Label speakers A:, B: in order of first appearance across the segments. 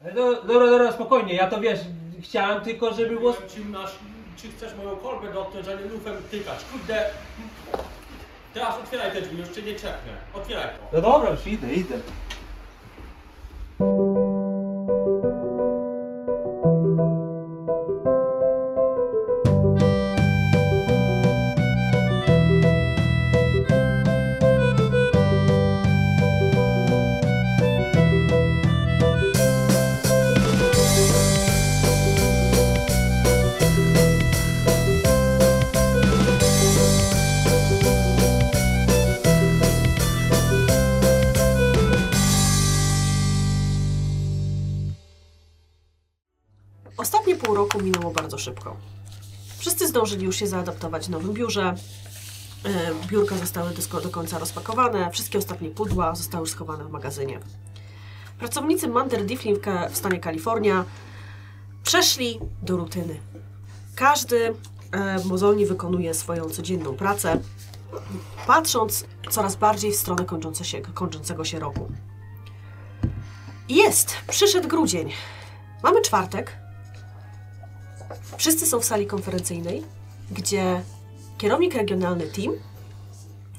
A: Ale no, do- Dobra, dobra, spokojnie, ja to wiesz, chciałem tylko, żeby było...
B: Powiem ci, masz, czy chcesz moją kolbę dotknąć, a nie lufem tykać? Kurde! Teraz otwieraj te drzwi, już cię nie czepnę. Otwieraj to.
A: No dobra, już idę, idę.
C: Ostatnie pół roku minęło bardzo szybko. Wszyscy zdążyli już się zaadaptować w nowym biurze. E, Biurka zostały dysko- do końca rozpakowane, wszystkie ostatnie pudła zostały już schowane w magazynie. Pracownicy Manter Difflin w, Ka- w stanie Kalifornia przeszli do rutyny. Każdy e, mozolnie wykonuje swoją codzienną pracę, patrząc coraz bardziej w stronę kończące się, kończącego się roku. Jest! Przyszedł grudzień. Mamy czwartek, Wszyscy są w sali konferencyjnej, gdzie kierownik regionalny team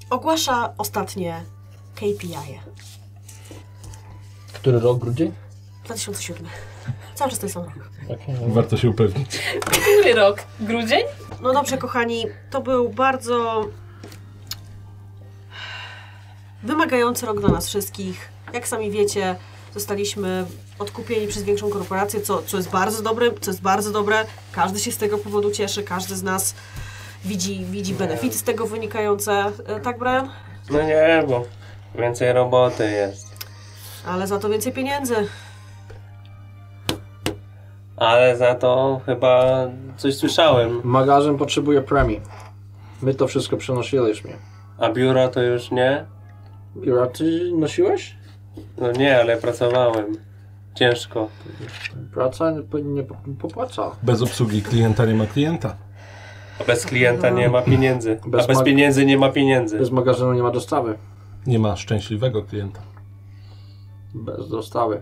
C: ogłasza ostatnie KPI
D: Który rok, grudzień?
C: 2007. Cały czas ten sam rok.
E: Warto się upewnić.
F: Który rok? Grudzień?
C: No dobrze, kochani, to był bardzo wymagający rok dla nas wszystkich. Jak sami wiecie, zostaliśmy odkupieni przez większą korporację, co, co jest bardzo dobre, co jest bardzo dobre. Każdy się z tego powodu cieszy, każdy z nas widzi, widzi benefity z tego wynikające. E, Tak, Brian?
G: No nie, bo więcej roboty jest.
C: Ale za to więcej pieniędzy.
G: Ale za to chyba coś słyszałem.
D: Magazyn potrzebuje premii. My to wszystko przenosiliśmy.
G: A biuro to już nie?
D: Jura, ty nosiłeś?
G: No nie, ale pracowałem. Ciężko.
D: Praca nie, po- nie po- popłaca.
E: Bez obsługi klienta nie ma klienta.
G: A bez klienta nie ma pieniędzy.
D: Bez
G: A bez
D: mag-
G: pieniędzy nie ma pieniędzy.
D: Bez magazynu nie ma dostawy.
E: Nie ma szczęśliwego klienta.
D: Bez dostawy.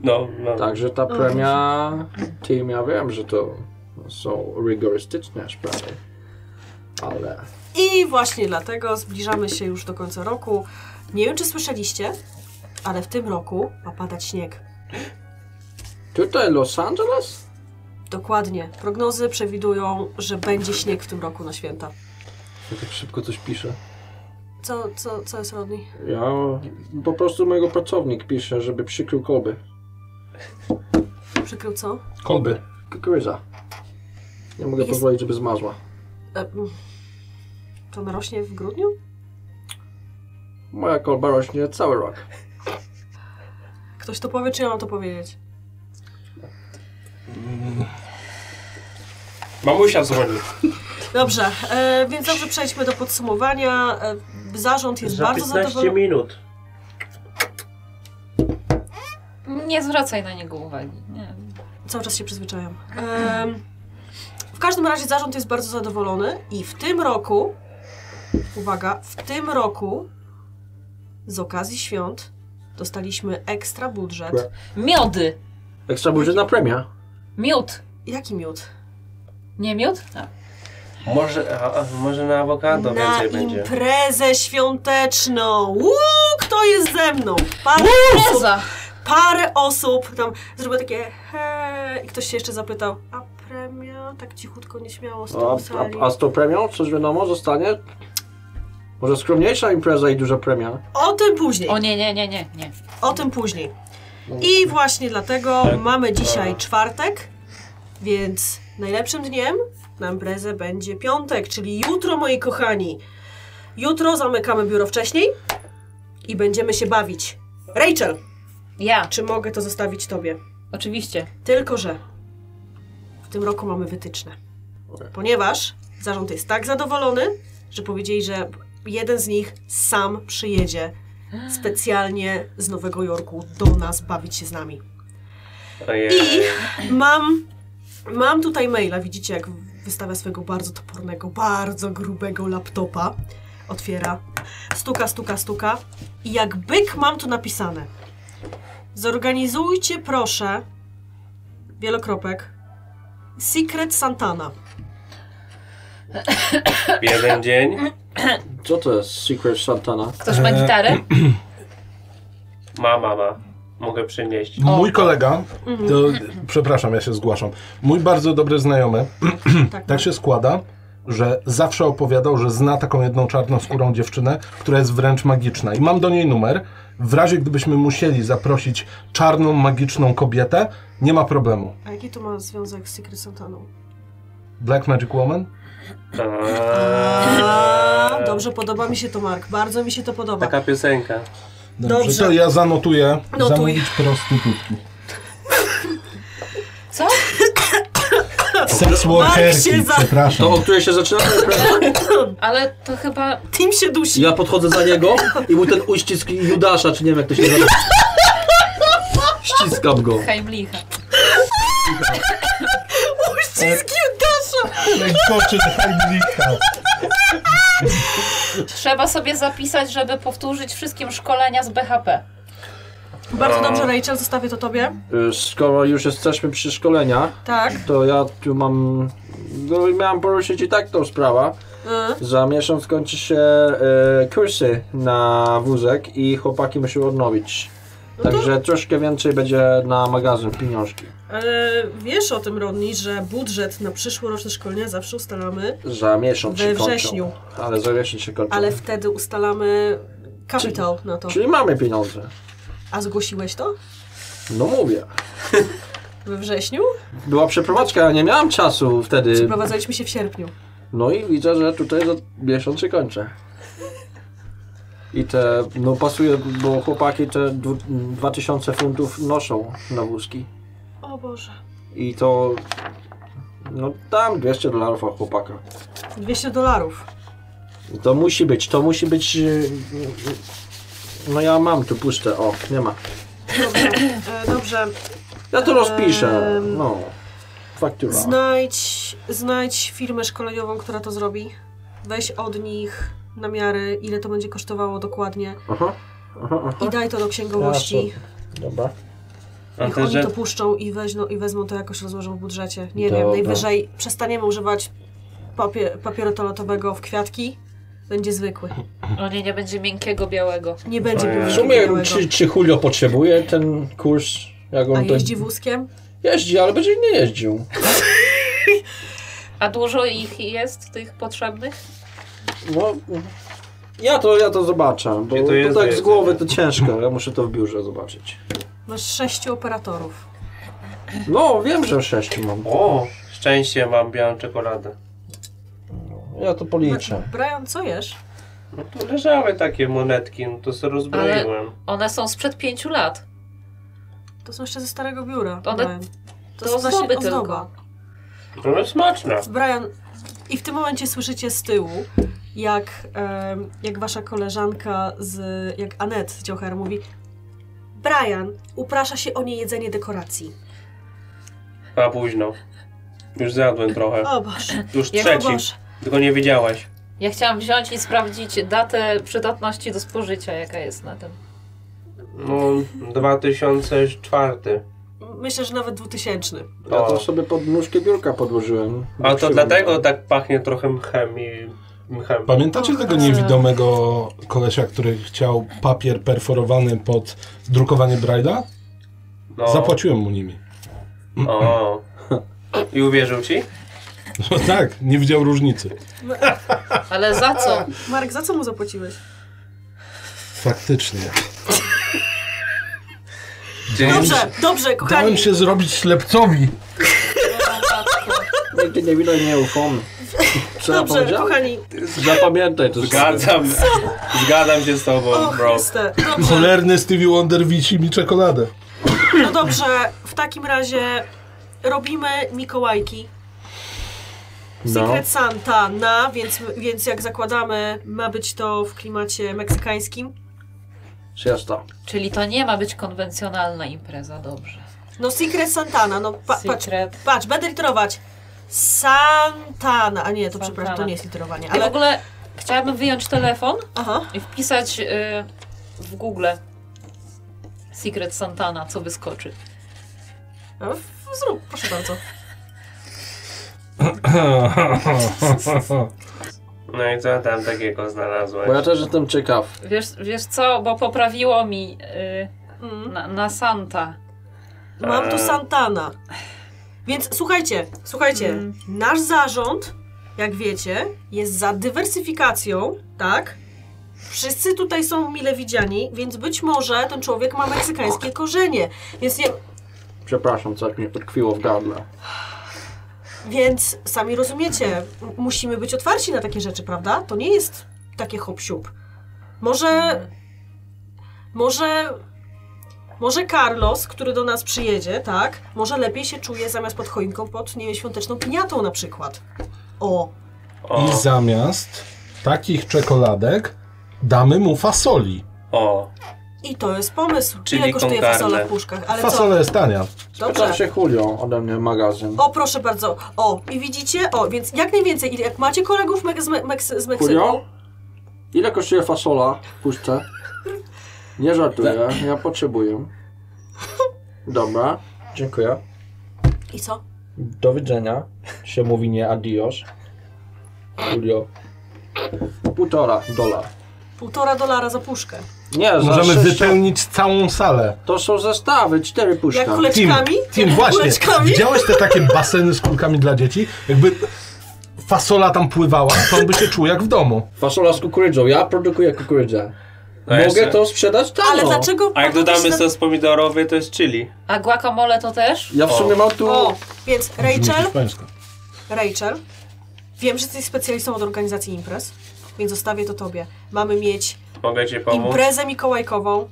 G: No, no.
D: Także ta premia, team, ja wiem, że to są rygorystyczne sprawy, ale
C: I właśnie dlatego zbliżamy się już do końca roku. Nie wiem, czy słyszeliście, ale w tym roku ma padać śnieg.
D: tutaj Los Angeles?
C: Dokładnie. Prognozy przewidują, że będzie śnieg w tym roku na święta.
D: Ja tak szybko coś piszę.
C: Co, co, co jest Rodney?
D: Ja po prostu mojego pracownik pisze, żeby przykrył kolby.
C: Przykrył co?
E: Kolby.
D: Kukurydza. Nie mogę
C: Jest-
D: pozwolić, żeby zmarzła.
C: E, mm. to narośnie w grudniu?
D: Moja kolba rośnie cały rok.
C: Ktoś to powie, czy ja mam to powiedzieć?
G: Mamusia dzwoni.
C: Dobrze, e, więc dobrze przejdźmy do podsumowania. E, zarząd jest
G: Za
C: bardzo
G: 15
C: zadowolony.
G: minut.
F: Nie zwracaj na niego uwagi. Nie.
C: Cały czas się przyzwyczajam. Em, w każdym razie zarząd jest bardzo zadowolony i w tym roku, uwaga, w tym roku z okazji świąt dostaliśmy ekstra budżet.
F: Miody!
D: Ekstra budżetna premia.
F: Miód!
C: Jaki miód?
F: Nie miód? Tak.
G: Może, a, a, może na awokado
C: Na
G: więcej będzie.
C: imprezę świąteczną. Uuu, kto jest ze mną? Parę osób,
F: Poza!
C: parę osób tam zrobiło takie he i ktoś się jeszcze zapytał, a premia? Tak cichutko, nieśmiało z
D: A,
C: tą sali.
D: a, a z tą premią, coś wiadomo, zostanie? Może skromniejsza impreza i duża premia?
C: O tym później.
F: O nie, nie, nie, nie, nie.
C: O tym później. I właśnie dlatego mamy dzisiaj czwartek, więc najlepszym dniem na imprezę będzie piątek, czyli jutro, moi kochani. Jutro zamykamy biuro wcześniej i będziemy się bawić. Rachel,
F: Ja,
C: czy mogę to zostawić tobie?
F: oczywiście.
C: Tylko, że w tym roku mamy wytyczne. Ponieważ zarząd jest tak zadowolony, że powiedzieli, że jeden z nich sam przyjedzie specjalnie z Nowego Jorku do nas bawić się z nami.
G: Ojej.
C: I mam, mam tutaj maila, widzicie jak wystawia swojego bardzo topornego, bardzo grubego laptopa. Otwiera, stuka, stuka, stuka i jak byk mam tu napisane. Zorganizujcie proszę wielokropek Secret Santana.
G: Jeden dzień.
D: Co to jest Secret Santana?
F: Ktoś ma gitarę?
G: Ma, ma, ma. Mogę przynieść.
E: Mój kolega,
C: Mhm.
E: to, przepraszam, ja się zgłaszam. Mój bardzo dobry znajomy,
C: Tak.
E: tak się składa, że zawsze opowiadał, że zna taką jedną czarnoskórą dziewczynę, która jest wręcz magiczna. I mam do niej numer. W razie gdybyśmy musieli zaprosić czarną, magiczną kobietę, nie ma problemu.
C: A jaki to ma związek z Secret Santaną?
E: Black Magic Woman?
C: A,
G: Eee,
C: dobrze, podoba mi się to, Mark. Bardzo mi się to podoba.
G: Taka piosenka.
C: Dobrze.
E: To ja zanotuję.
C: Notuj.
E: Zamówić prostytutki.
F: Co?
E: Sex
C: Mark się
E: workerki,
C: za-
E: przepraszam.
D: To od której się zaczyna?
F: Ale to chyba...
C: Tim się dusi.
D: Ja podchodzę za niego i mu ten uścisk Judasza, czy nie wiem jak to się nazywa. Ściskam go.
F: Heimlicha.
C: Uściski Dasza!
E: Koczy Heimlicha.
F: Trzeba sobie zapisać, żeby powtórzyć wszystkim szkolenia z BHP.
C: Bardzo dobrze, Rachel, zostawię to tobie.
D: Y, Skoro już jesteśmy przy szkoleniach,
C: Tak.
D: to ja tu mam... No, miałem poruszyć i tak tą sprawę.
C: Y,
D: Za miesiąc kończy się e, kursy na wózek i chłopaki muszą odnowić.
C: No
D: Także troszkę więcej będzie na magazyn pieniążki.
C: ale wiesz o tym, Rodney, że budżet na przyszłoroczne szkolenia zawsze ustalamy,
D: Za miesiąc
C: We
D: się kończą.
C: wrześniu.
D: Ale za miesiąc się kończą.
C: ale wtedy ustalamy kapitał na to.
D: Czyli mamy pieniądze.
C: A zgłosiłeś to?
D: No mówię.
C: We wrześniu?
D: Była przeprowadzka, nie miałem czasu wtedy.
C: Przeprowadzaliśmy się w sierpniu.
D: No i widzę, że tutaj za miesiąc się kończę. I te, no pasuje, bo chłopaki te dwu- 2000 funtów noszą na wózki.
C: O Boże.
D: I to. No tam 200 dolarów od chłopaka.
C: 200 dolarów.
D: To musi być, to musi być. y, No ja mam tu puste, o, nie ma.
C: Dobrze. E, dobrze.
D: Ja to rozpiszę.
C: Em,
D: No. Faktura.
C: Znajdź, znajdź firmę szkoleniową, która to zrobi. Weź od nich namiary, ile to będzie kosztowało dokładnie
D: Aha. Aha, aha.
C: i daj to do księgowości.
D: Dobra.
G: A
C: Niech
G: te,
C: oni
G: że...
C: to puszczą i, weźno, i wezmą to jakoś rozłożą w budżecie. Nie wiem,
D: Dobra.
C: najwyżej przestaniemy używać papie, papieru toaletowego w kwiatki. Będzie zwykły.
F: O nie, nie będzie miękkiego, białego.
C: Nie będzie
G: W
D: W
C: białego,
D: sumie,
C: białego.
D: czy, czy Julio potrzebuje ten kurs? Jak on
C: A
D: to...
C: jeździ wózkiem?
D: Jeździ, ale będzie nie jeździł.
F: A dużo ich jest, tych potrzebnych?
D: No, ja to, ja to zobaczę, bo
G: Gdzie to
D: to,
G: jest
D: tak z
G: wiedza?
D: głowy to ciężko. Ja muszę to w biurze zobaczyć.
C: Masz sześciu operatorów.
D: No, wiem, że sześć mam.
G: O, szczęście mam białą czekoladę.
D: Ja to policzę.
C: Brian, co jesz?
G: No tu leżały takie monetki, no to sobie rozbroiłem.
F: One są sprzed pięciu lat.
C: To są jeszcze ze starego biura.
F: One-
C: Brian.
F: to
C: jest właśnie
F: ozdoby
C: ozdoba.
F: tylko.
G: No ale smaczne.
C: Brian, i w tym momencie słyszycie z tyłu, jak, em, jak wasza koleżanka z, jak Anet z Ciocher mówi Brian, uprasza się o niejedzenie dekoracji.
G: A późno. Już zjadłem trochę.
C: O Boże,
G: Już
F: Jak
C: o
G: trzeci,
C: Boże.
G: tylko nie wiedziałaś.
F: Ja chciałam wziąć i sprawdzić datę przydatności do spożycia, jaka jest na tym.
G: No, 2004.
C: Myślę, że nawet dwutysięczny.
D: Ja
G: O.
D: to sobie pod nóżkę biurka podłożyłem.
G: A to
D: Przyjemnie.
G: dlatego tak pachnie trochę mchem i mchem.
E: Pamiętacie tego niewidomego kolesia, który chciał papier perforowany pod drukowanie Braille'a?
G: No.
E: Zapłaciłem mu nimi.
G: O. I uwierzył ci?
E: No tak, nie widział różnicy.
F: Ale za co?
C: Marek, za co mu zapłaciłeś?
E: Faktycznie.
C: Dobrze, dobrze, kochani.
E: Dałem się zrobić ślepcowi.
D: Nigdy nie widać, nie ufam. Co ja
C: Dobrze,
D: powiedziałem?
C: kochani.
D: Zapamiętaj to sobie.
G: Zgadzam, zgadzam się z tobą,
C: O
G: bro.
C: Chryste. Dobrze,
E: Cholerny Stevie Wonder wisi mi czekoladę.
C: no dobrze, w takim razie robimy Mikołajki.
D: No.
C: Secret Santa na, więc, więc jak zakładamy, ma być to w klimacie meksykańskim.
D: Siesta.
F: Czyli to nie ma być konwencjonalna impreza, dobrze.
C: No Secret Santana, no pa, patrz,
F: Secret.
C: patrz, będę literować. Santana, a nie, to
F: Santana.
C: przepraszam, to nie jest literowanie,
F: Ale w
C: ale...
F: ogóle chciałabym wyjąć telefon
C: Aha,
F: i wpisać y, w Google Secret Santana, co wyskoczy.
C: E, w- Zrób, proszę bardzo.
G: No i co tam takiego znalazłeś?
D: Bo ja też jestem ciekaw.
F: Wiesz, wiesz co, bo poprawiło mi y,
C: Mm.
F: na, na Santa.
C: Mam tu Santana. Więc słuchajcie, słuchajcie,
F: Mm.
C: nasz zarząd, jak wiecie, jest za dywersyfikacją, tak? Wszyscy tutaj są mile widziani, więc być może ten człowiek ma meksykańskie korzenie. Więc, nie,
D: Przepraszam, coś mnie utkwiło w gardle.
C: więc sami rozumiecie, m- musimy być otwarci na takie rzeczy, prawda? To nie jest takie hop-siup. Może. Może. Może Carlos, który do nas przyjedzie, tak? Może lepiej się czuje zamiast pod choinką pod nie wiem, świąteczną piniatą na przykład. O,
G: O,
E: I zamiast takich czekoladek damy mu fasoli.
G: o.
C: i to jest pomysł.
G: Czyli
C: Ile kosztuje
G: konkarne.
C: fasola w puszkach? Ale
E: Fasole jest tania.
C: co? Dobrze.
D: Pytam się Julio ode mnie magazyn.
C: O, proszę bardzo. O, i widzicie? O, więc jak najwięcej, ile- jak macie kolegów Mek- z, Me- Meksy- z Meksyku,
D: Julio? Ile kosztuje fasola w puszce? Nie żartuję, ja potrzebuję. Dobra, dziękuję.
C: i co?
D: Do widzenia. Się mówi nie adios. Julio. Półtora dolara.
C: Półtora dolara za puszkę.
D: Nie, za
E: Możemy
D: sześć-
E: wypełnić całą salę.
D: To są zestawy, cztery
C: Jak
D: puszka.
E: Tim,
C: kuleczkami?
E: Tim
C: Jak
E: właśnie.
C: kuleczkami?
E: Widziałeś te takie baseny z kulkami dla dzieci? Jakby fasola tam pływała, to on by się czuł jak w domu.
D: Fasola z kukurydzą, ja produkuję kukurydzę.
G: No
D: Mogę
G: jeszcze-
D: to sprzedać tam.
C: Ale
D: no.
C: dlaczego...
G: A jak dodamy sos pomidorowy, to jest chili.
F: A guacamole to też?
D: Ja w
G: O.
D: sumie mam tu...
C: O, więc Rachel,
E: Hiszpańsko.
C: Rachel, wiem, że jesteś specjalistą od organizacji imprez, więc zostawię to tobie. Mamy mieć
G: Mogę ci pomóc?
C: imprezę mikołajkową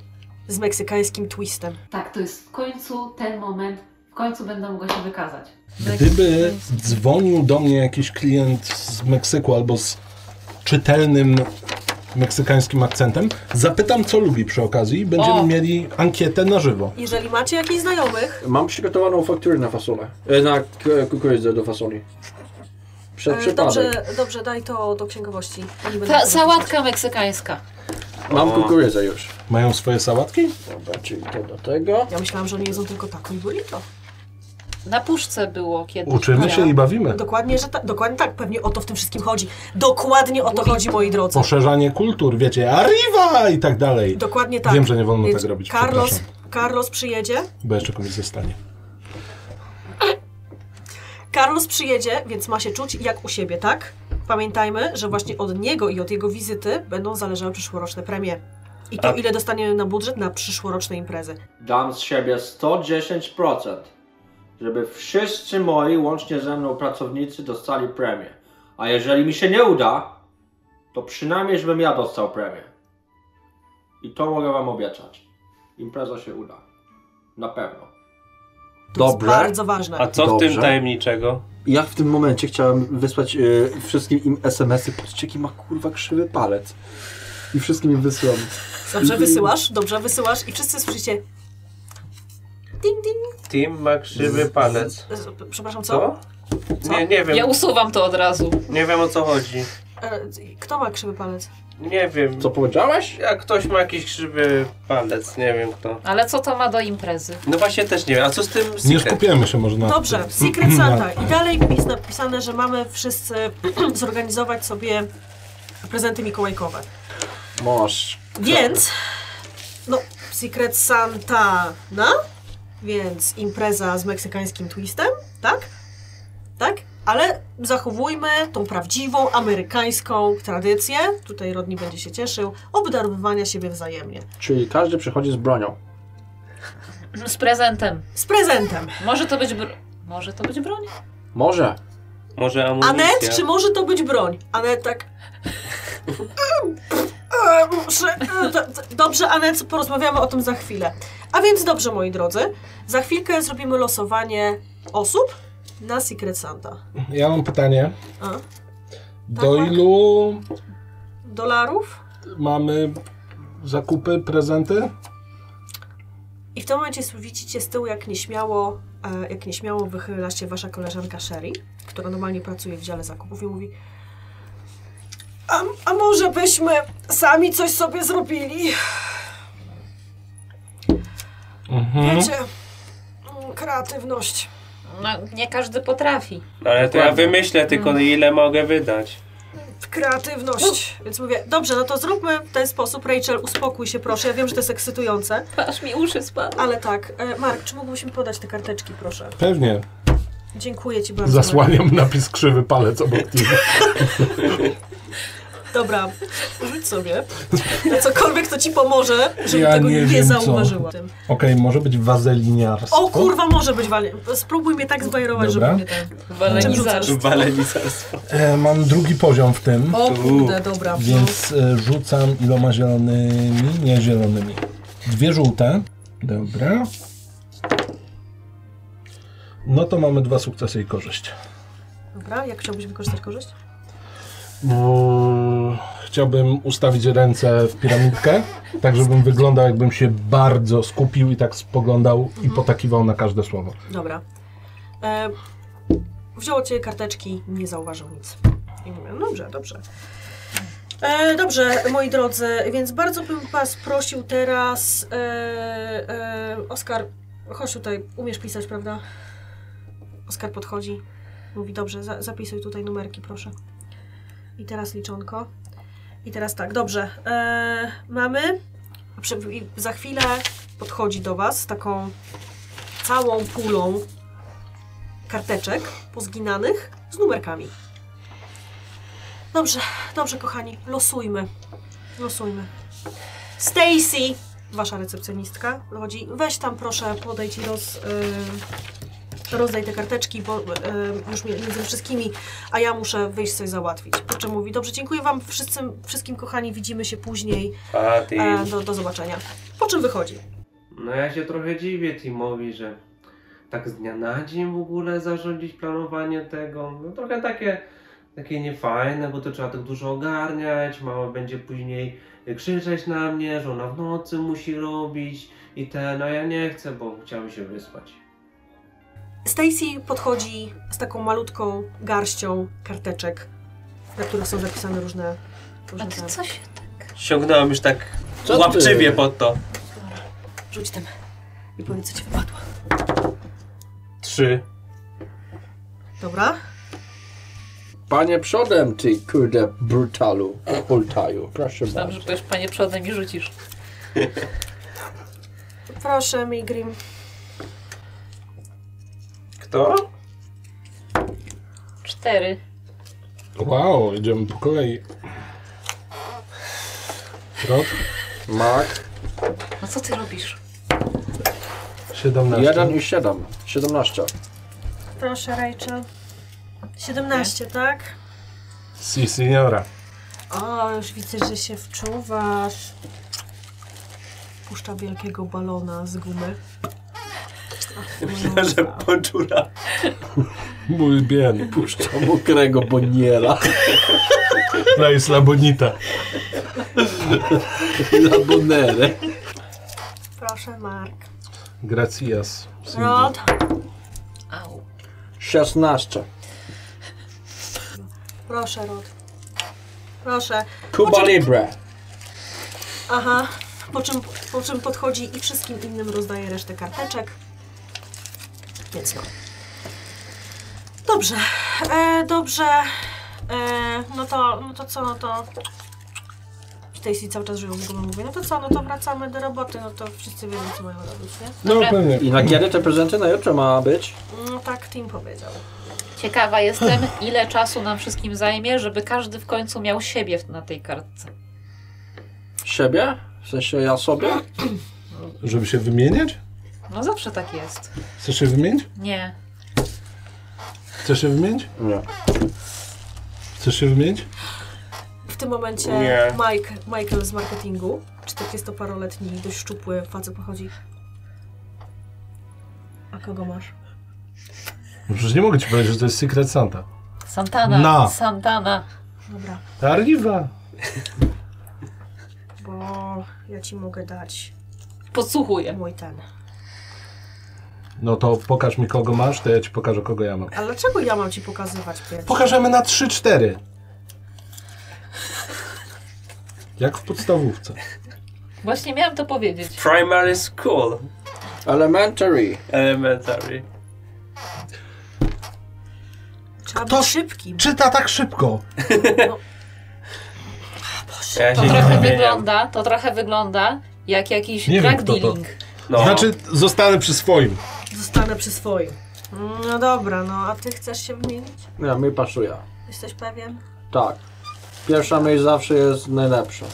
C: z meksykańskim twistem.
H: Tak, to jest w końcu ten moment, w końcu będę mogła się wykazać.
C: Tak.
E: Gdyby dzwonił do mnie jakiś klient z Meksyku albo z czytelnym meksykańskim akcentem, zapytam co lubi przy okazji. Będziemy
F: O.
E: mieli ankietę na żywo.
C: Jeżeli macie jakichś znajomych,
D: Mam przygotowaną fakturę na fasolę. E, Na k- kukurydzę do fasoli. Przed
C: e,
D: przypadek.
C: dobrze, dobrze, daj to do księgowości. Oni będą
F: Ta
C: to
F: sałatka meksykańska.
D: Mam
G: O.
D: kukurydzę już.
E: Mają swoje sałatki?
D: Dobra, czyli to do tego.
C: Ja myślałam, że oni jedzą tylko taco i burrito.
F: Na puszce było kiedyś.
E: Uczymy się i bawimy.
C: Dokładnie, że ta, dokładnie tak, pewnie o to w tym wszystkim chodzi. Dokładnie o to chodzi, moi drodzy.
E: Poszerzanie kultur, wiecie, arriva i tak dalej.
C: Dokładnie tak.
E: Wiem, że nie wolno
C: Więc
E: tak robić,
C: Carlos,
E: przepraszam.
C: Carlos przyjedzie,
E: Bo jeszcze komuś zostanie.
C: Carlos przyjedzie, więc ma się czuć jak u siebie, tak? Pamiętajmy, że właśnie od niego i od jego wizyty będą zależały przyszłoroczne premie. I to,
G: A-
C: ile dostaniemy na budżet na przyszłoroczne imprezy.
I: Dam z siebie 110%, żeby wszyscy moi, łącznie ze mną pracownicy, dostali premię. A jeżeli mi się nie uda, to przynajmniej, żebym ja dostał premię. I to mogę Wam obiecać. Impreza się uda. Na pewno.
C: To jest
D: Dobrze.
C: bardzo ważne.
G: A co w
D: Dobrze.
G: tym tajemniczego?
D: Ja w tym momencie chciałem wysłać y, wszystkim im SMS-y. Patrzcie, jaki ma kurwa krzywy palec. I wszystkim im wysłam.
C: Dobrze wysyłasz, dobrze wysyłasz i wszyscy słyszycie... Ding, ding.
G: Tim ma krzywy palec.
C: E, Przepraszam, co?
G: Co? Nie, nie
F: Ja
G: wiem.
F: usuwam to od razu.
G: Nie wiem o co chodzi.
C: E, Kto ma krzywy palec?
G: Nie wiem.
D: Co powiedziałaś?
G: Jak ktoś ma jakiś krzywy palec, nie wiem kto.
F: Ale co to ma do imprezy?
G: No właśnie też nie wiem. A co z tym
E: Nie
G: secret?
E: skupiamy się może na
C: Dobrze, Secret Santa. I dalej jest napisane, że mamy wszyscy zorganizować sobie prezenty mikołajkowe.
D: Masz.
C: Więc, no, Secret Santa, na? Więc impreza z meksykańskim twistem, tak? Tak? Ale zachowujmy tą prawdziwą amerykańską tradycję, tutaj Rodni będzie się cieszył, obdarowywania siebie wzajemnie.
D: Czyli każdy przychodzi z bronią.
F: Z prezentem.
C: Z prezentem.
F: Może to być bro... Może to być broń?
D: Może.
G: Może amunicja?
C: Anet, czy może to być broń? Anet tak. E, muszę- e, d- d- Dobrze, Anet, porozmawiamy o tym za chwilę. A więc dobrze, moi drodzy, za chwilkę zrobimy losowanie osób na Secret Santa.
E: Ja mam pytanie.
C: A?
E: Do
C: Tak, tak.
E: ilu
C: Dolarów?
E: mamy zakupy, prezenty?
C: I w tym momencie widzicie z tyłu, jak nieśmiało, e, jak nieśmiało wychyla się wasza koleżanka Sherry, która normalnie pracuje w dziale zakupów i mówi a, a może byśmy sami coś sobie zrobili?
E: Mhm.
C: Wiecie, mm, kreatywność.
F: No, nie każdy potrafi.
G: Ale to ja wymyślę tylko ile mogę wydać.
C: Kreatywność. Więc mówię, dobrze, no to zróbmy w ten sposób. Rachel, uspokój się proszę. Ja wiem, że to jest ekscytujące,
F: Aż mi uszy spadły.
C: ale tak. E, Mark, czy mógłbyś mi podać te karteczki, proszę?
E: Pewnie.
C: Dziękuję ci bardzo.
E: Zasłaniam napis krzywy palec obok niego.
C: Mark. Dobra, rzuć sobie. Na cokolwiek, co ci pomoże, żeby
E: Ja
C: tego
E: nie
C: nie,
E: wiem, co.
C: zauważyła.
E: Okej, może być wazeliniarstwo.
C: O kurwa, może być walnie. Spróbuj mnie tak zwajrować,
E: Dobra.
C: żeby mnie tak... Czym
F: Walenizarz.
C: rzucasz?
G: Balenisarstwo.
E: E, mam drugi poziom w tym,
C: O no. kurde, dobra.
E: więc e, rzucam iloma zielonymi, nie zielonymi. Dwie żółte. Dobra. No to mamy dwa sukcesy i korzyść.
C: Dobra, jak chciałbyś wykorzystać korzyść?
E: Mm, Chciałbym ustawić ręce w piramidkę, tak żebym wyglądał jakbym się bardzo skupił i tak spoglądał i potakiwał na każde słowo.
C: Dobra. E, wziął od ciebie karteczki, nie zauważył nic. I mówię, no dobrze, dobrze. E, dobrze, moi drodzy, więc bardzo bym was prosił teraz... E, e, Oskar, chodź tutaj, umiesz pisać, prawda? Oskar podchodzi, mówi, dobrze, za, zapisuj tutaj numerki, proszę. I teraz liczonko. I teraz tak, dobrze, e, mamy... Prze- i za chwilę podchodzi do was z taką całą pulą karteczek pozginanych z numerkami. Dobrze, dobrze, kochani, losujmy. Losujmy. Stacy, wasza recepcjonistka, dochodzi. Weź tam, proszę, podejdź i roz, y, rozdaj te karteczki, bo y, już mi- między wszystkimi, a ja muszę wyjść coś załatwić. Po czym mówi, dobrze, dziękuję wam wszyscy, wszystkim, kochani, widzimy się później.
G: A ty.
C: E, do, do zobaczenia. Po czym wychodzi?
G: No ja się trochę dziwię Timowi, że tak z dnia na dzień w ogóle zarządzić planowanie tego. No trochę takie, takie niefajne, bo to trzeba tak dużo ogarniać, mama będzie później krzyczeć na mnie, że ona w nocy musi robić i te, no ja nie chcę, bo chciałem się wyspać.
C: Stacy podchodzi z taką malutką garścią karteczek, na których są zapisane różne.
F: A
C: różne
F: ty
C: te-
F: co się tak...
G: Sięgnąłem już tak
D: Co ty?
G: łapczywie pod to.
C: Rzuć tam i powiedz, co ci wypadło.
G: Trzy.
C: Dobra.
D: Panie przodem, ty kurde brutalu, hultaju, proszę
F: Tam,
D: bardzo.
F: że powiesz, panie przodem i rzucisz.
C: Proszę, Migrim.
G: Kto?
F: Cztery.
E: Wow, idziemy po kolei. Rok
D: Mak,
F: No co ty robisz?
E: 17.
D: 1 i 7, 17.
C: Proszę, Rachel. 17, tak?
E: Si, signora.
C: O, już widzę, że się wczuwasz. Puszcza wielkiego balona z gumy. Ach, moja
G: Że
C: ulubiona.
G: poczura.
E: Muy bien.
D: Puszczam mokrego boniera,
E: La isla bonita.
D: la bonere.
C: Proszę, Mark.
E: Gracias. Cindy.
C: Rod.
F: Au.
D: 16.
C: Proszę, Rod. Proszę.
D: Cuba Libre.
C: Aha, po czym, po czym podchodzi i wszystkim innym rozdaje resztę karteczek. Więc no. Dobrze, e, dobrze. E, no, to, no to co, no to... Stacy cały czas żyją w głowie, mówię, no to co, no to wracamy do roboty, no to wszyscy wiedzą, co mają robić, nie?
E: No
F: Dobra.
E: pewnie.
D: I na kiedy te prezenty na jutro ma być?
C: No tak Tim powiedział.
F: Ciekawa jestem, ile czasu nam wszystkim zajmie, żeby każdy w końcu miał siebie w- na tej kartce.
D: Siebie? W sensie ja sobie?
E: Żeby się wymieniać?
F: No zawsze tak jest.
E: Chcesz się wymienić?
F: Nie.
E: Chcesz się wymienić?
D: Nie.
E: Chcesz się wymienić?
C: W tym momencie
G: Nie.
C: Mike, Michael z marketingu, 40-paroletni, dość szczupły facet pochodzi. A kogo masz?
E: No Przecież nie mogę ci powiedzieć, że to jest Secret Santa.
F: Santana.
E: Na.
F: Santana.
C: Dobra,
E: Arriva.
C: bo ja ci mogę dać
F: Podsłuchuję.
C: mój ten.
E: No to pokaż mi kogo masz, to ja ci pokażę kogo ja mam.
C: Ale dlaczego ja mam ci pokazywać pierwszy?
E: Pokażemy na 3-4. Jak w podstawówce.
F: Właśnie miałam to powiedzieć.
G: Primary school.
D: Elementary.
G: Elementary.
C: Trzeba
E: Kto-
C: być szybkim.
E: Czyta tak szybko.
G: Ja się
F: To
G: nie
F: trochę
G: zmieniam.
F: wygląda, to trochę wygląda jak jakiś
E: Nie wiem,
F: drug
E: kto to.
F: dealing.
G: No.
E: Znaczy, zostanę przy swoim.
C: Zostanę przy swoim. No dobra, no a ty chcesz się wymienić?
D: Ja, mi pasuje.
C: Jesteś pewien?
D: Tak. Pierwsza myśl zawsze jest najlepsza.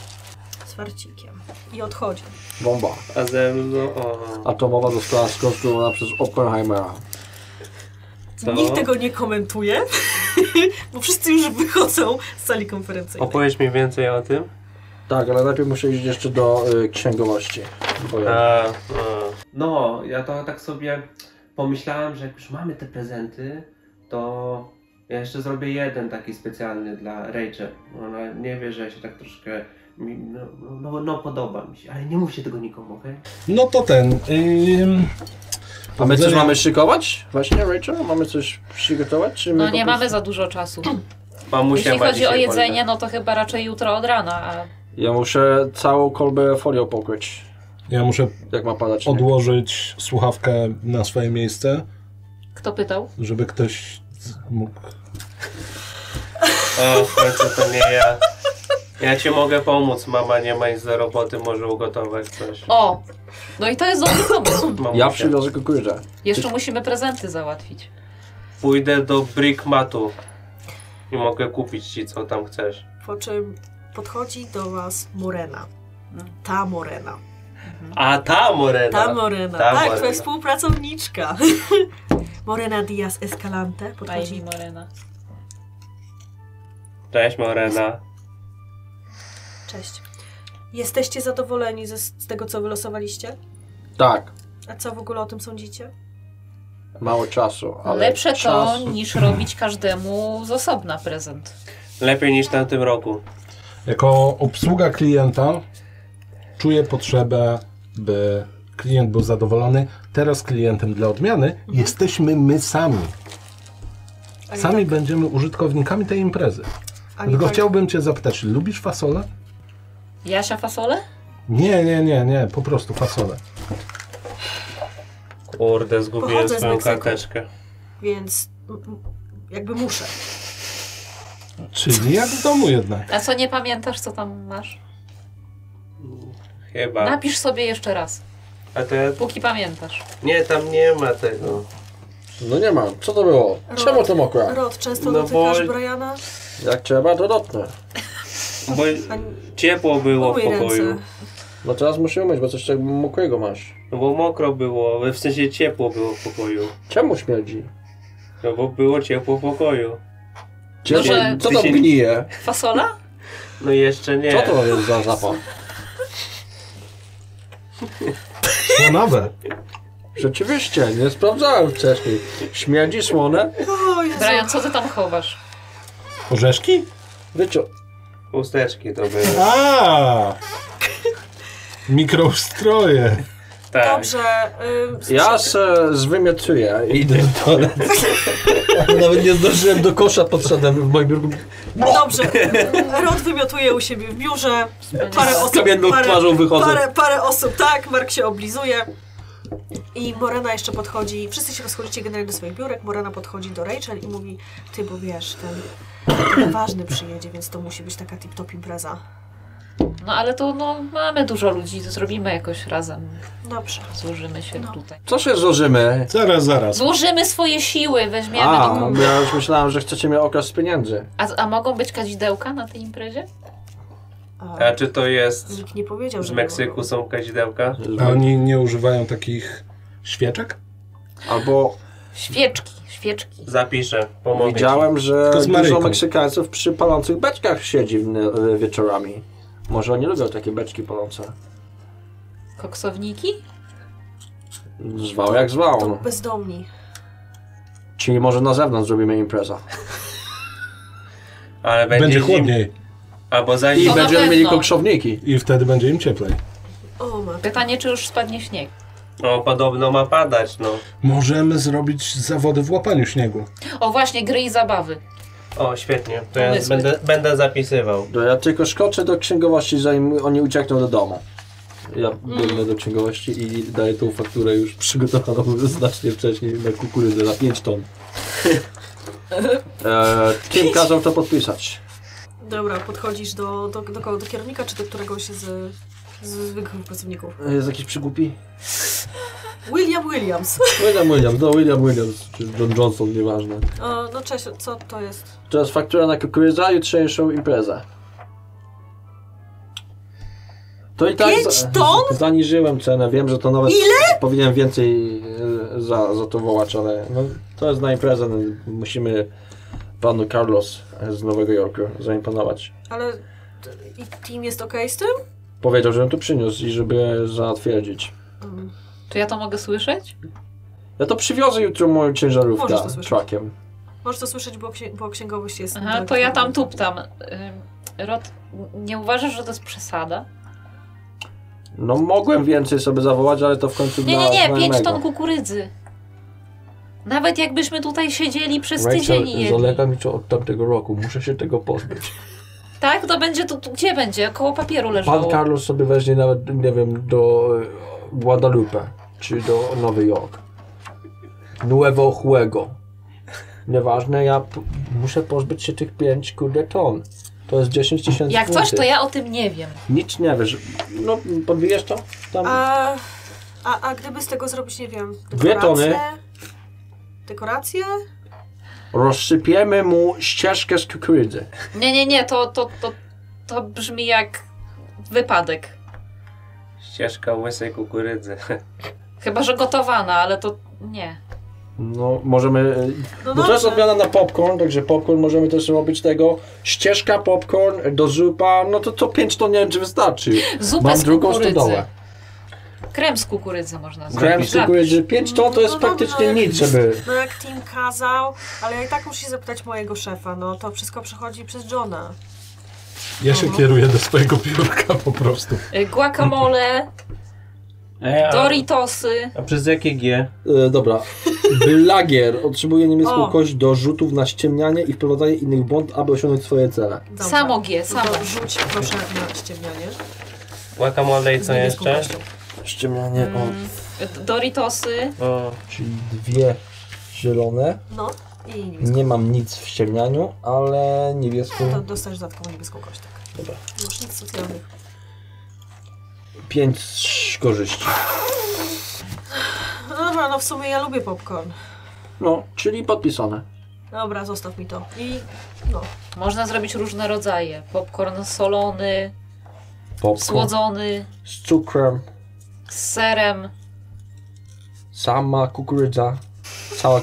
C: Z warcikiem. I odchodzi.
D: Bomba.
G: A ze mną... O,
D: Atomowa została skonstruowana przez Oppenheimera.
G: co?
C: Nikt tego nie komentuje, bo wszyscy już wychodzą z sali konferencyjnej.
G: Opowiedz mi więcej o tym.
D: Tak, ale najpierw muszę iść jeszcze do y, księgowości. Bo ja-
G: A, a.
I: No, ja to tak sobie pomyślałem, że jak już mamy te prezenty, to ja jeszcze zrobię jeden taki specjalny dla Rachel. Ona nie wie, że ja się tak troszkę. mi- No, no, no podoba mi się, ale nie mówcie tego nikomu, okej?
E: No to ten. ym,
D: A my coś
E: Powodzenia.
D: mamy szykować? Właśnie, Rachel? Mamy coś przygotować? Czy my
F: No
D: po
F: nie
D: prostu-
F: mamy za dużo czasu.
G: Mamusia
F: Jeśli
G: ma
F: chodzi o
G: dzisiaj
F: jedzenie, no to chyba raczej jutro od rana, a
D: Ja muszę całą kolbę folią pokryć,
E: Ja muszę
D: jak ma padać. śnieg.
E: odłożyć słuchawkę na swoje miejsce,
F: kto pytał?
E: żeby ktoś z- mógł.
G: wolne. O, w końcu to nie ja. Ja ci mogę pomóc, mama nie ma nic do roboty, może ugotować coś.
F: O! No i to jest dobry pomysł.
G: Mamusia.
D: Ja przywiozę kukurydzę.
F: Jeszcze musimy prezenty załatwić.
G: Pójdę do Brickmatu i mogę kupić ci co tam chcesz.
C: Po czym podchodzi do was Morena. Ta Morena.
G: A ta Morena!
C: Ta Morena.
G: Ta
C: tak,
G: Morena.
C: twoja współpracowniczka. Morena Diaz Escalante
F: Daj mi
C: podchodzi.
F: Morena.
G: Cześć Morena.
C: Cześć. Jesteście zadowoleni ze, z tego, co wylosowaliście?
D: Tak,
C: A co w ogóle o tym sądzicie?
D: mało czasu, ale
F: Lepsze to
D: czas...
F: niż robić każdemu z osobna prezent.
G: Lepiej niż w tamtym roku.
E: Jako obsługa klienta czuję potrzebę, by klient był zadowolony. Teraz klientem dla odmiany jesteśmy my sami.
C: Ani
E: Sami
C: tak,
E: będziemy użytkownikami tej imprezy.
C: ani
E: Dlatego
C: tak.
E: chciałbym Cię zapytać, lubisz fasolę?
F: Jasia fasole?
E: Nie, nie, nie, nie, po prostu fasolę.
G: Kurde, zgubiłem
C: Pochodzę z
G: swoją
C: Meksyku.
G: karteczkę.
C: Więc m- m- jakby muszę.
E: Czyli jak w domu jednak.
F: A co nie pamiętasz, co tam masz?
G: Chyba.
F: Napisz sobie jeszcze raz,
G: A te...
F: póki pamiętasz.
G: Nie, tam nie ma tego.
D: No nie ma, co to było? Czemu to mokra?
C: Rod, często
G: No bo-
C: dotykasz Briana?
D: Tak. Jak trzeba, to dotnę.
G: Bo
C: Ani...
G: ciepło było w
C: Umyj
G: pokoju.
C: ręce.
D: No teraz muszę umyć, bo coś tak mokłego masz.
G: No bo mokro było, w sensie ciepło było w pokoju.
D: Czemu śmierdzi?
G: No bo było ciepło w pokoju.
D: Ciepło,
F: że-
D: Znaczy, co
G: Ty
D: tam
G: się-
D: gnije?
F: Fasola?
G: No jeszcze nie.
D: Co to jest za zapach?
E: Słonawe.
D: Rzeczywiście, nie sprawdzałem wcześniej. Śmierdzi słone?
C: O Jezu.
F: Brian, co ty tam chowasz?
E: Orzeszki?
D: Wycią...
G: Usteczki to były.
E: A! Mikroustroje.
G: Tak.
C: Dobrze. y, ym,
D: Ja se zwymiotuję. Idę do toalet. Nawet nie zdążyłem do kosza, podszedłem w moim biurku.
C: Dobrze. Rod wymiotuje u siebie w biurze. Parę
D: Z
C: osób,
D: kamienną
C: parę,
D: twarzą wychodzę.
C: parę, parę osób, tak. Mark się oblizuje. I Morena jeszcze podchodzi. Wszyscy się rozchodzicie generalnie do swoich biurek. Morena podchodzi do Rachel i mówi: Ty, bo wiesz, ten ważny przyjedzie, więc to musi być taka tip-top impreza.
F: No ale to no, mamy dużo ludzi, to zrobimy jakoś razem.
C: Dobrze.
F: Złożymy się
C: No.
F: tutaj.
D: Co się złożymy?
E: Zaraz, zaraz.
F: Złożymy swoje siły, weźmiemy do
D: A, no
F: góry.
D: bo ja już myślałem, że chcecie mnie okraść z pieniędzy.
F: A, a mogą być kadzidełka na tej imprezie?
C: A,
G: A czy to jest...
C: nikt nie powiedział,
G: E, Z
C: że.
G: Meksyku są kadzidełka?
E: A oni nie używają takich świeczek?
D: Albo
F: Świeczki, świeczki.
G: Zapiszę, pomogę
D: widziałem, że
E: Tylko z
D: dużo
E: Maryjką.
D: Meksykańców przy palących beczkach siedzi w, w- wieczorami. Może oni lubią takie beczki palące.
F: Koksowniki?
D: Zwał jak
C: To
D: zwał.
C: bezdomni.
D: Czyli może na zewnątrz zrobimy imprezę.
G: ci. Ale będzie,
E: Będzie,
G: będzie
E: chłodniej
G: Albo za
D: I
F: To
G: zimno.
F: na
D: będziemy
F: pewno.
D: mieli kokrzowniki.
E: i wtedy będzie im cieplej.
C: O, matka.
F: Pytanie, czy już spadnie śnieg?
G: No podobno ma padać, no.
E: Możemy zrobić zawody w łapaniu śniegu.
F: O właśnie, gry i zabawy.
G: O, świetnie. To ja
F: Pomysły.
G: będę, będę zapisywał.
D: To ja tylko skoczę do księgowości, zanim oni uciekną do domu. Ja
F: Mm.
D: biegnę do księgowości i daję tą fakturę już przygotowaną znacznie wcześniej na kukurydzę na 5 ton. E, kim kazał to podpisać?
C: Dobra, podchodzisz do, do, do, kogo? do kierownika czy do któregoś z, z zwykłych pracowników?
D: E, Jest jakiś przygłupi?
C: William Williams.
D: William Williams, no William Williams, czy John Johnson, nieważne.
C: O, no cześć, co to jest?
D: Teraz faktura na kukurydza, jutrzejszą imprezę. To i tak.
C: Pięć
D: za-
C: ton?
D: Zaniżyłem cenę. Wiem, że to nawet.
C: Ile?
D: Powinienem więcej e, za, za to wołać, ale no, to jest na imprezę. No, musimy panu Carlos z Nowego Jorku zaimponować.
C: Ale t- i team jest okej z tym?
D: Powiedział, żebym to przyniósł i żeby zatwierdzić.
C: Mm.
F: Czy ja to mogę słyszeć?
D: Ja to przywiozę jutro moją ciężarówkę
C: Możesz to słyszeć.
D: truckiem.
C: Możesz to słyszeć, bo, księ- bo księgowość jest...
F: Aha, to ja tam tuptam. Ym, Rod, nie uważasz, że to jest przesada?
D: No mogłem więcej sobie zawołać, ale to w końcu
F: Nie,
D: dla
F: nie, nie, 5
D: znajomego.
F: ton kukurydzy. Nawet jakbyśmy tutaj siedzieli przez
D: Rachel
F: tydzień i jedli.
D: zalega mi to od tamtego roku. Muszę się tego pozbyć.
F: Tak, to będzie tu, tu gdzie będzie? Koło papieru
D: Pan
F: leżało.
D: Carlos sobie weźmie nawet, nie wiem, do e, Guadalupe, czy do Nowy Jork. Nuevo Juego. Nieważne, ja p- muszę pozbyć się tych 5 kurde ton. To jest 10 tysięcy
F: Jak coś,
D: funtów.
F: to ja o tym nie wiem.
D: Nic nie wiesz. No, podbijesz to? Tam...
C: A, a, a gdyby z tego zrobić, nie wiem,
D: Dwie tony.
C: dekoracje? Dekoracje?
D: Rozsypiemy mu ścieżkę z kukurydzy.
F: Nie, nie, nie, to, to, to, to brzmi jak wypadek.
G: Ścieżka łysej kukurydzy.
F: Chyba, że gotowana, ale to nie.
D: No, możemy... e,
C: No
D: Bo to jest
C: dobrze.
D: odmiana na popcorn, także popcorn możemy też robić tego. Ścieżka, popcorn, do zupa, no to to 5 ton nie wiem czy wystarczy.
F: Zupę
D: Mam
F: z
D: drugą
F: kukurydzy.
D: stodołę.
F: Krem z kukurydzy można zrobić.
D: Grałem z
F: Zapisz.
D: kukurydzy 5 ton to jest
C: No dobra.
D: praktycznie nic, żeby...
C: No jak team kazał, ale ja i tak muszę się zapytać mojego szefa, no to wszystko przechodzi przez Johna.
E: Ja się kieruję do swojego biurka po prostu.
F: Y, Guacamole,
G: Ej, a-
F: Doritosy.
G: A przez jakie G?
D: E, dobra. Lagier otrzymuje niemiecką
C: O.
D: kość do rzutów na ściemnianie i wprowadzanie innych w błąd, aby osiągnąć swoje cele.
C: Dobra.
F: Samo G,
C: No
F: samo.
C: to rzuć proszę na ściemnianie.
G: Guacamole i
C: Z
G: co
C: niebieską
G: jeszcze?
C: kością.
D: Ściemnianie,
F: Mm, y, Doritosy.
G: O,
D: czyli dwie zielone.
C: No i niebieską.
D: Nie mam nic w ściemnianiu, ale
C: To
D: niebieską
C: dostajesz dodatkowo niebieską kość, tak.
D: Dobra.
C: Już nic socjalnych.
D: 5 korzyści.
C: No dobra, no w sumie ja lubię popcorn.
D: No, czyli podpisane.
C: Dobra, zostaw mi to. I no.
F: Można zrobić różne rodzaje. Popcorn solony,
D: Popcorn
F: słodzony,
D: z cukrem,
F: z serem.
D: sama kukurydza, cała...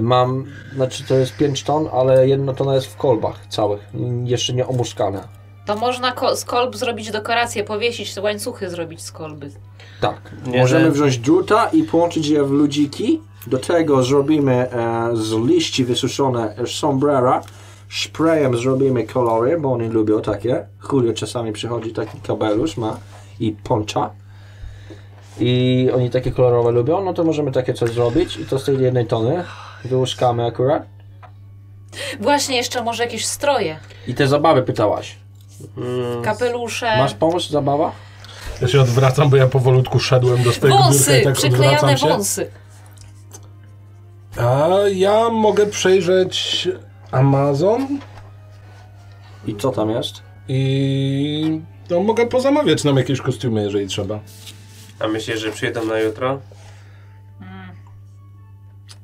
D: Mam, znaczy to jest 5 ton, ale jedna tona jest w kolbach całych, jeszcze nie omuszkane.
F: To można ko- z kolb zrobić dekorację, powiesić, łańcuchy zrobić z kolby.
D: Tak.
G: Nie,
D: Możemy
G: że-
D: wziąć druta i połączyć je w ludziki. Do tego zrobimy e, z liści wysuszone sombrera. Sprayem zrobimy kolory, bo oni lubią takie. Julio czasami przychodzi taki kabelusz ma i poncza. I oni takie kolorowe lubią, no to możemy takie coś zrobić i to z tej jednej tony wyłuskamy akurat.
F: Właśnie jeszcze może jakieś stroje,
D: I te zabawy pytałaś.
F: kapelusze,
D: Masz pomysł zabawa?
E: Ja się odwracam, bo ja powolutku szedłem do swojego biurka
F: wąsy,
E: i tak
F: przyklejane
E: odwracam się.
F: wąsy.
E: A ja mogę przejrzeć Amazon
D: I co tam jest?
E: i no, mogę pozamawiać nam jakieś kostiumy, jeżeli trzeba.
G: a myślisz, że przyjedą na jutro?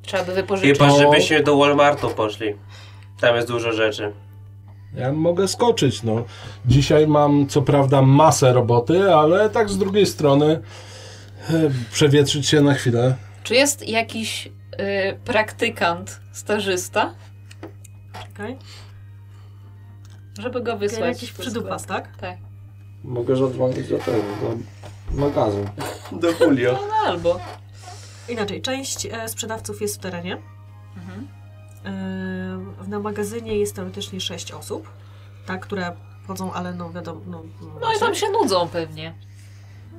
F: Trzeba by wypożyczyć.
G: Chyba, żebyśmy do Walmartu poszli. Tam jest dużo rzeczy.
E: Ja mogę skoczyć, no. Dzisiaj mam co prawda masę roboty, ale tak z drugiej strony e, przewietrzyć się na chwilę.
F: Czy jest jakiś y, praktykant, stażysta,
C: Czekaj.
F: żeby go wysłać?
C: Jakiś
F: do
C: przydupas,
F: sklepu?
C: tak?
F: Tak.
D: Mogę zadzwonić do tego, do magazynu.
G: Do Julio.
F: No albo.
C: Inaczej, część e, sprzedawców jest w terenie.
F: Mhm.
C: E, na magazynie jest teoretycznie sześć osób, tak, które chodzą, ale no wiadomo. No,
F: No i tam się nudzą pewnie.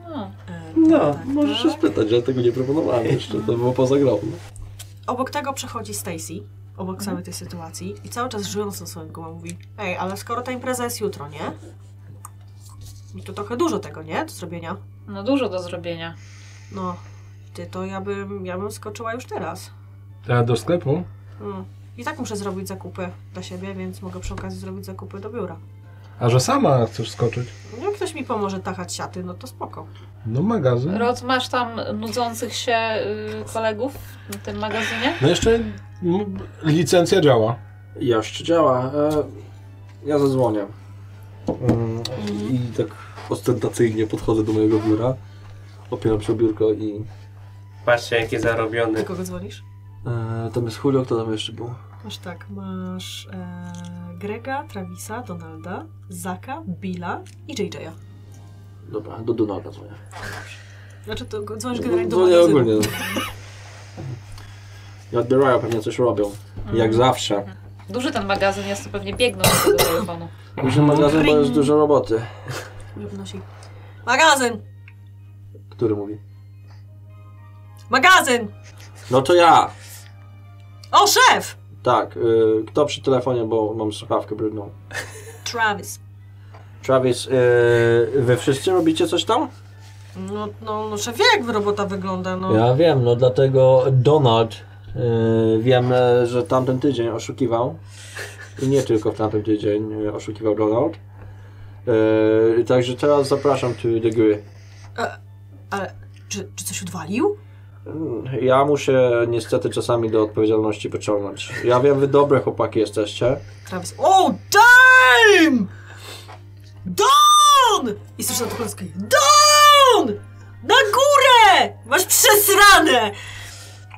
F: No.
C: E,
D: No,
C: tak,
D: możesz się
C: tak.
D: spytać, ja tego nie proponowałem jeszcze, to było poza grą.
C: Obok tego przechodzi Stacy, obok samej tej sytuacji i cały czas żyjąc na swoim głowie mówi Ej, ale skoro ta impreza jest jutro, nie? I to trochę dużo tego, nie? Do zrobienia.
F: No dużo do zrobienia.
C: No, ty to ja bym, ja bym skoczyła już teraz.
E: Teraz do sklepu?
C: Mm. I tak muszę zrobić zakupy dla siebie, więc mogę przy okazji zrobić zakupy do biura.
E: A że sama chcesz skoczyć?
C: No, Jak ktoś mi pomoże tachać siaty, no to spoko.
E: No magazyn.
F: Rod, masz tam nudzących się y, kolegów w tym magazynie?
E: No jeszcze m, licencja działa.
D: Jeszcze działa. E, ja zadzwonię. Mm, I tak ostentacyjnie podchodzę do mojego biura, opieram się o biurko i...
G: Patrzcie, jakie zarobione.
C: Do kogo dzwonisz?
D: E, tam jest Julio, kto tam jeszcze był?
C: Masz tak, masz e, Grega, Travisa, Donalda, Zaka, Billa i JJ'a.
D: Dobra, do Donalda dzwonię.
C: Znaczy to go- dzwonisz
D: Dzwonię
C: generalnie do magazynu.
D: ogólnie. no. I odbierają, pewnie coś robią. Jak zawsze.
F: Duży ten magazyn jest, to pewnie biegną do tego telefonu.
D: Duży magazyn, bo jest dużo roboty.
C: Nie wnosi. Magazyn!
D: Który mówi?
C: Magazyn!
D: No to ja!
C: O, szef!
D: Tak, y, kto przy telefonie, bo mam słuchawkę brudną.
C: Travis.
D: Travis, y, wy wszyscy robicie coś tam?
C: No, no, no szef wie, jak robota wygląda, no.
D: Ja wiem, no dlatego Donald, y, wiem, e, że tamten tydzień oszukiwał. I nie tylko w tamtym tydzień y, oszukiwał Donald. Y, także teraz zapraszam tu do gry.
C: Ale czy, czy coś odwalił?
D: Mm, Ja muszę niestety czasami do odpowiedzialności pociągnąć. Ja wiem, wy dobre chłopaki jesteście.
C: Travis. O, damn! Don! I słyszę na to polskie. Don! Na górę! Masz przesrane!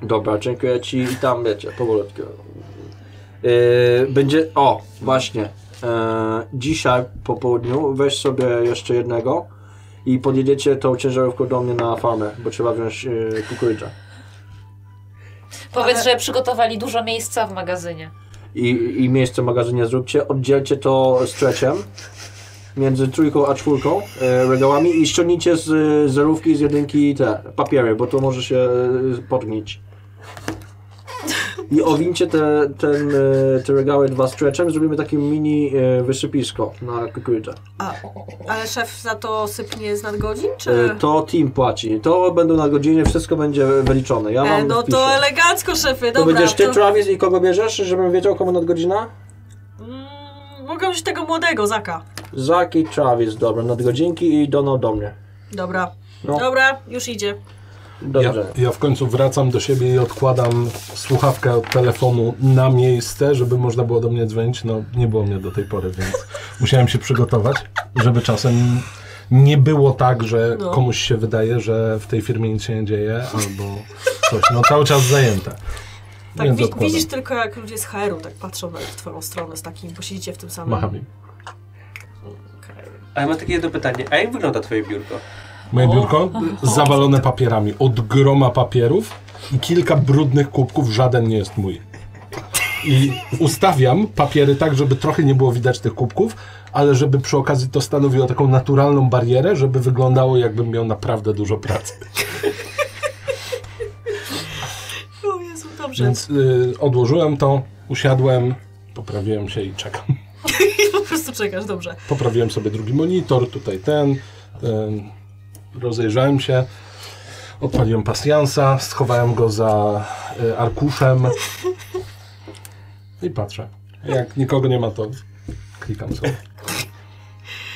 D: Dobra, dziękuję ci i tam wiecie, powolutku. Yy, będzie. O, właśnie. Yy, dzisiaj po południu weź sobie jeszcze jednego i podjedziecie tą ciężarówką do mnie na farmę, bo trzeba wziąć yy, kukurydzę.
F: Powiedz,
C: Ale-
F: że przygotowali dużo miejsca w magazynie.
D: I, I miejsce w magazynie zróbcie, oddzielcie to streciem między trójką a czwórką yy, regałami i ściągnijcie z yy, zerówki z jedynki te papiery, bo to może się yy, podgnić. I owincie te, ten, e, te regały dwa stretchem, zrobimy takie mini e, wysypisko na kukurydzę.
C: A, ale szef za to sypnie z nadgodzin,
D: E,
C: czy...
D: To team płaci. To będą na godzinie, wszystko będzie wyliczone. Ja mam
C: E, no
D: wpiszę.
C: to elegancko, szefy,
D: To
C: dobra.
D: będziesz ty, Travis, i kogo bierzesz, żebym wiedział, komu nadgodzina?
C: Mm, mogę już tego młodego, Zaka.
D: Zak i Travis, dobra, nadgodzinki i Donald do mnie.
C: Dobra.
D: No.
C: Dobra, już idzie.
E: Ja,
D: Dobrze.
E: ja w końcu wracam do siebie i odkładam słuchawkę od telefonu na miejsce, żeby można było do mnie dzwonić. No nie było mnie do tej pory, więc musiałem się przygotować, żeby czasem nie było tak, że
C: No.
E: komuś się wydaje, że w tej firmie nic się nie dzieje albo coś. No cały czas zajęte.
C: Tak
E: Więc
C: wi-
E: odkładam.
C: widzisz tylko, jak ludzie z HR-u tak patrzą na w twoją stronę z takim, bo siedzicie w tym samym...
E: Macham im.
C: Okej.
G: A ja mam takie jedno pytanie. A jak wygląda twoje biurko?
E: Moje biurko zawalone papierami, od groma papierów i kilka brudnych kubków, żaden nie jest mój. I ustawiam papiery tak, żeby trochę nie było widać tych kubków, ale żeby przy okazji to stanowiło taką naturalną barierę, żeby wyglądało jakbym miał naprawdę dużo pracy.
C: O Jezu, dobrze.
E: Więc y, odłożyłem to, usiadłem, poprawiłem się i czekam.
C: po prostu czekasz, dobrze.
E: Poprawiłem sobie drugi monitor, tutaj ten. ten. Rozejrzałem się, odpaliłem pasjansa, schowałem go za y, arkuszem i patrzę. Jak nikogo nie ma, to klikam sobie.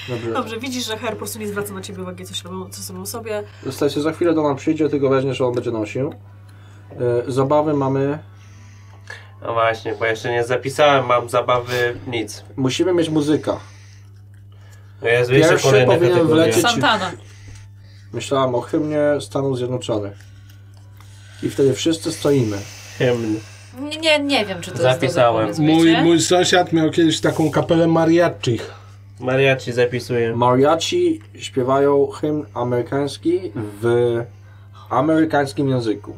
D: Dobrze.
C: Dobrze, widzisz, że HR po prostu nie zwraca na ciebie uwagi, co się robią, co sobie sobie.
D: Zostańcie, za chwilę Donald przyjdzie, tylko weźmiesz, on będzie nosił. E, Zabawy mamy...
G: No właśnie, bo jeszcze nie zapisałem, mam zabawy nic.
D: Musimy mieć muzyka.
G: No Jezu, jeszcze
D: Pierwszy
G: kolejne
D: powinien
G: kategorie.
D: wlecieć-
F: Santana.
D: Myślałam o hymnie Stanów Zjednoczonych. I wtedy wszyscy stoimy.
G: Hymn.
F: Nie, nie, nie wiem, czy to
G: Zapisałem.
F: jest to,
E: Mój, mój sąsiad miał kiedyś taką kapelę mariachi.
G: Mariachi zapisuję.
D: Mariachi śpiewają hymn amerykański w amerykańskim języku.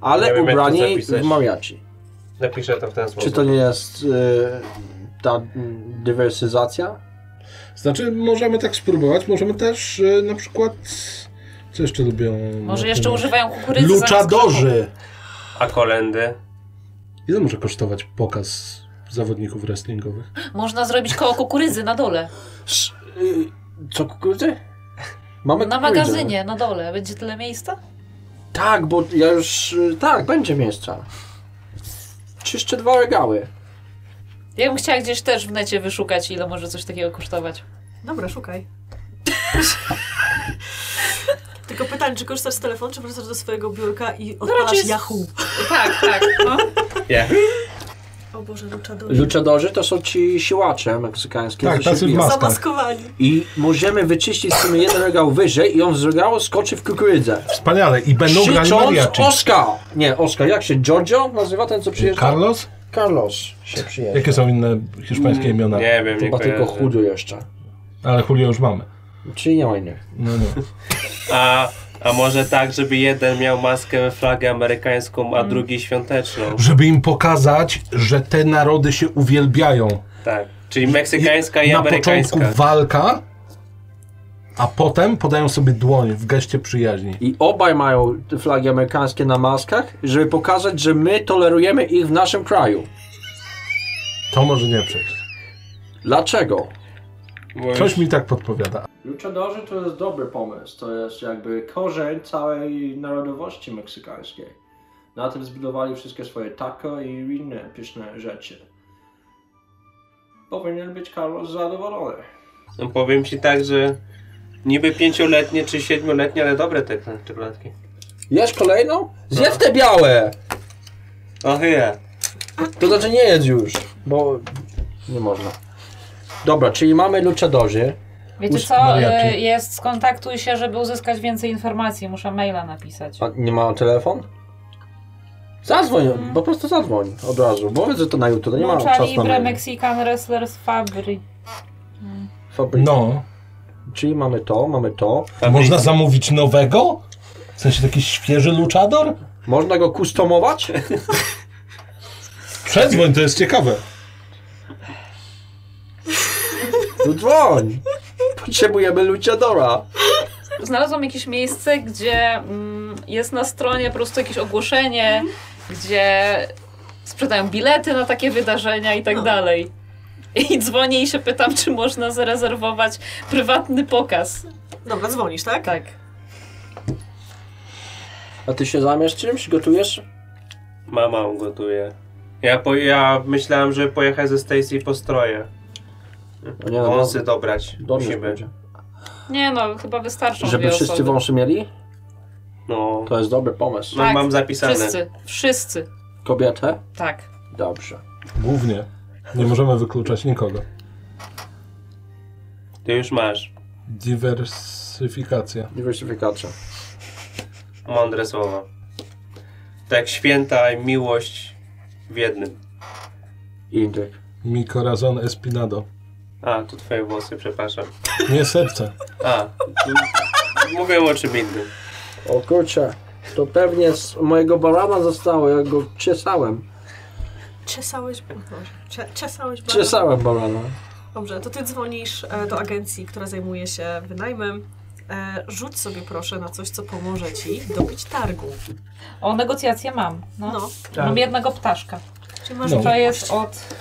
D: Ale
G: Nie wiem, jak to
D: ubrani w
G: zapisać.
D: mariachi.
G: Napiszę to w ten sposób.
D: Czy to nie jest y, ta mm, dywersyzacja?
E: Znaczy, możemy tak spróbować, możemy też y, na przykład... Co jeszcze lubią?
F: Może jeszcze używają kukurydzy zamiast
E: Luczadorzy!
G: A kolendy?
E: Ile może kosztować pokaz zawodników wrestlingowych?
F: krzepu. Można zrobić koło kukurydzy na dole.
D: Sz- y, Co kukurydzy? Mamy
F: Na
D: kukurydzę.
F: magazynie, na dole. Będzie tyle miejsca?
D: Tak, bo ja już... y, Tak, będzie miejsca. Czyszczę dwa regały.
F: Ja bym chciała gdzieś też w necie wyszukać, ile może coś takiego kosztować.
C: Dobra, szukaj. Tylko pytanie, czy korzystasz z telefonu, czy wracasz do swojego biurka i odpalasz
F: raczej z-
C: Yahoo?
F: Tak, tak. No.
C: O Boże, luchadorzy.
D: Luchadorzy to są ci siłacze meksykańskie.
E: Tak,
D: co się
E: tacy w
D: biją.
E: maskach.
C: Zamaskowani.
D: I możemy wyczyścić sobie jeden regał wyżej i on z regału skoczy w kukurydzę.
E: Wspaniale. I będą grali
D: Krzycząc
E: mariachi.
D: Oscar! Nie, Oscar, jak się Giorgio nazywa ten, co przyjeżdża?
E: Carlos?
D: Carlos się przyjeżdża.
E: Jakie są inne hiszpańskie imiona?
G: Mm, Nie wiem, nie
D: Chyba tylko
G: kojarzę.
D: chudu jeszcze.
E: Ale Julio już mamy.
D: Czyli nie ma innych.
E: No nie.
G: A, a może tak, żeby jeden miał maskę, flagę amerykańską, a
D: Mm.
G: drugi świąteczną.
E: Żeby im pokazać, że te narody się uwielbiają.
G: Tak. Czyli meksykańska i
E: na
G: amerykańska.
E: początku walka, a potem podają sobie dłoń w geście przyjaźni.
D: I obaj mają te flagi amerykańskie na maskach, żeby pokazać, że my tolerujemy ich w naszym kraju.
E: To może nie przejść.
D: Dlaczego?
G: Bo
E: Coś mi tak podpowiada.
I: Luchadorzy to jest dobry pomysł. To jest jakby korzeń całej narodowości meksykańskiej. Na tym zbudowali wszystkie swoje taco i inne pyszne rzeczy. Powinien być Carlos zadowolony.
G: No powiem ci tak, że niby pięcioletnie czy siedmioletnie, ale dobre te te czekoladki.
D: Jesz kolejną? Zjedz te białe!
G: O chyja.
D: To znaczy nie jedz już, bo nie można. Dobra, czyli mamy luchadorzy.
F: Wiecie
E: Us-
F: co?
E: mariachi.
F: y, Jest, skontaktuj się, żeby uzyskać więcej informacji. Muszę maila napisać.
D: A nie ma telefon? Zadzwoń,
F: Mhm.
D: po prostu zadzwoń od razu. Bo wiedzę, że to na jutro, to nie ma
F: Lucha
D: czasu na
F: Libre
D: mail.
F: Mexican Wrestlers Fabry.
D: Fabryki.
E: No.
D: Czyli mamy to, mamy to.
E: Można zamówić nowego? W sensie taki świeży luchador?
D: Można go kustomować?
E: Przedzwoń, to jest ciekawe.
D: No dzwoń! Potrzebujemy luchadora.
F: Znalazłam jakieś miejsce, gdzie mm, jest na stronie po prostu jakieś ogłoszenie, gdzie sprzedają bilety na takie wydarzenia i tak dalej. I dzwonię i się pytam, czy można zarezerwować prywatny pokaz.
C: Dobra, dzwonisz, tak?
F: Tak.
D: A ty się zamiesz czymś? Gotujesz?
G: Mama gotuje. Ja, po, ja myślałem, że pojechać ze Stacy po stroje.
D: No nie, no,
G: Wąsy dobrać
D: dobrze
G: musimy.
D: będzie.
F: Nie no, chyba wystarczą
D: Żeby
F: dwie
D: wszyscy
F: osoby.
D: wąsy mieli?
G: No,
D: To jest dobry pomysł.
G: no
F: Tak,
G: mam zapisane.
F: Wszyscy, wszyscy,
D: Kobietę?
F: tak.
D: Dobrze.
E: Głównie. Nie możemy wykluczać nikogo.
G: Ty już masz.
E: Dywersyfikacja.
D: Dywersyfikacja.
G: Mądre słowa. Tak święta i miłość w jednym.
D: Indyk.
E: Mi corazon espinado.
G: A, to twoje włosy, przepraszam.
E: Nie serce.
G: A, m- mówię o czym innym.
D: O kurczę, to pewnie z mojego barana zostało, jak go czesałem.
C: Czesałeś, o Boże, cze, czesałeś bardzo.
D: Czesałem barana.
C: Dobrze, to ty dzwonisz e, do agencji, która zajmuje się wynajmem. E, Rzuć sobie proszę na coś, co pomoże ci dobić targu.
F: O, negocjacje mam. No.
C: No,
D: Tak.
F: Mam jednego ptaszka.
C: czy masz
E: No.
F: To jest od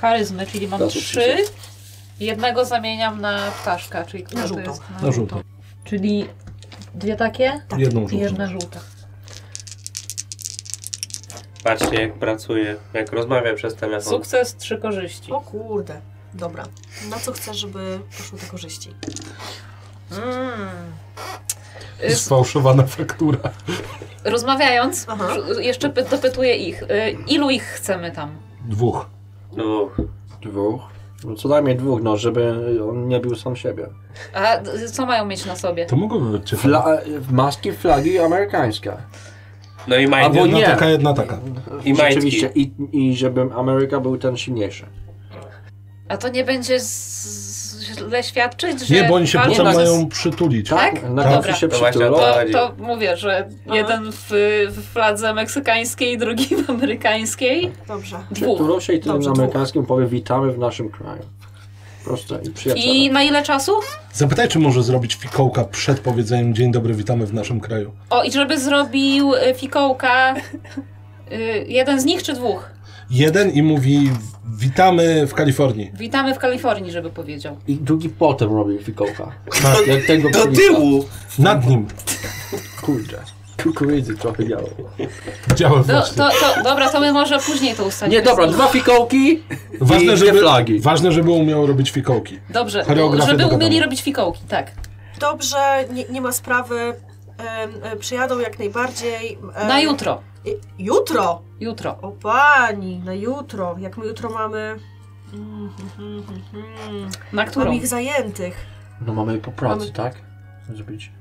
F: charyzmy, czyli mam
D: To
F: trzy.
D: oczywiście.
F: Jednego zamieniam na ptaszka, czyli która
C: Na
F: to
C: żółtą.
F: jest?
E: Na żółto.
F: Czyli dwie takie
C: Tak.
E: Jedną
F: i
E: żółtą.
F: jedna żółta.
G: Patrzcie jak pracuje, jak rozmawia przez
E: Tak.
G: telefon.
F: Sukces, trzy korzyści.
C: O kurde. Dobra. Na co chcesz, żeby poszło do korzyści?
F: Mm. Y,
E: Sfałszowana faktura.
F: Rozmawiając,
C: Aha.
F: żu- jeszcze py- dopytuję ich, y, ilu ich chcemy tam?
E: Dwóch.
G: No,
D: Dwóch. No Co najmniej dwóch, no, żeby on nie bił sam siebie.
F: A y, co mają mieć na sobie?
E: To mogłoby być ciekawe.
D: Fla maski, flagi amerykańskie.
G: no i
D: Albo
G: majtki.
E: Jedna
D: nie.
E: taka, jedna taka.
G: I majtki.
D: Rzeczywiście. I, I żeby Ameryka był ten silniejszy.
F: A to nie będzie z- źle świadczyć, że.
E: Nie, bo oni się
F: walczą ze-
E: potem mają przytulić.
F: Tak?
D: Na
F: Dobra.
D: końcu się
G: To No właśnie
D: przytulą.
G: to-
F: To,
G: chodzi.
F: to mówię, że jeden w, w fladze meksykańskiej, drugi w amerykańskiej.
C: Dobrze.
F: Dwóch.
D: Przytulą się i tym
C: Dobrze,
D: na
C: dwóch.
D: amerykańskim powie witamy w naszym kraju. Proste i przyjaciele.
F: I na ile czasu?
E: Zapytaj, czy może zrobić fikołka przed powiedzeniem dzień dobry, witamy w naszym kraju.
F: O, i żeby zrobił y, fikołka Y, jeden z nich czy dwóch?
E: Jeden i mówi, witamy w Kalifornii.
F: Witamy w Kalifornii, żeby powiedział.
D: I drugi potem robił fikołka. Tak. Jak tego
J: Do
D: królika.
J: tyłu!
E: Nad nim.
D: Kurde. Kukurydzy trochę działo.
E: Działa
F: Do,
E: właśnie.
F: to, to, dobra, to my może później to tak. ustalimy.
D: Nie, dobra, dwa fikołki.
E: Ważne
D: i
E: żeby,
D: dwie flagi.
E: ważne, żeby umiał robić fikołki.
F: Dobrze,
E: Choreografia
F: żeby
E: dogadamy.
F: umieli robić fikołki, tak.
C: Dobrze, nie, nie ma sprawy. Em, e, Przyjadą jak najbardziej. em,
F: Na jutro.
C: i- Jutro!
F: Jutro.
C: O pani, na jutro. Jak my jutro mamy. Mm, mm, mm, mm.
F: Na
C: Mam
F: którą?
C: ich zajętych.
D: No mamy po
C: Mamy-
D: pracy, tak? Zrobić.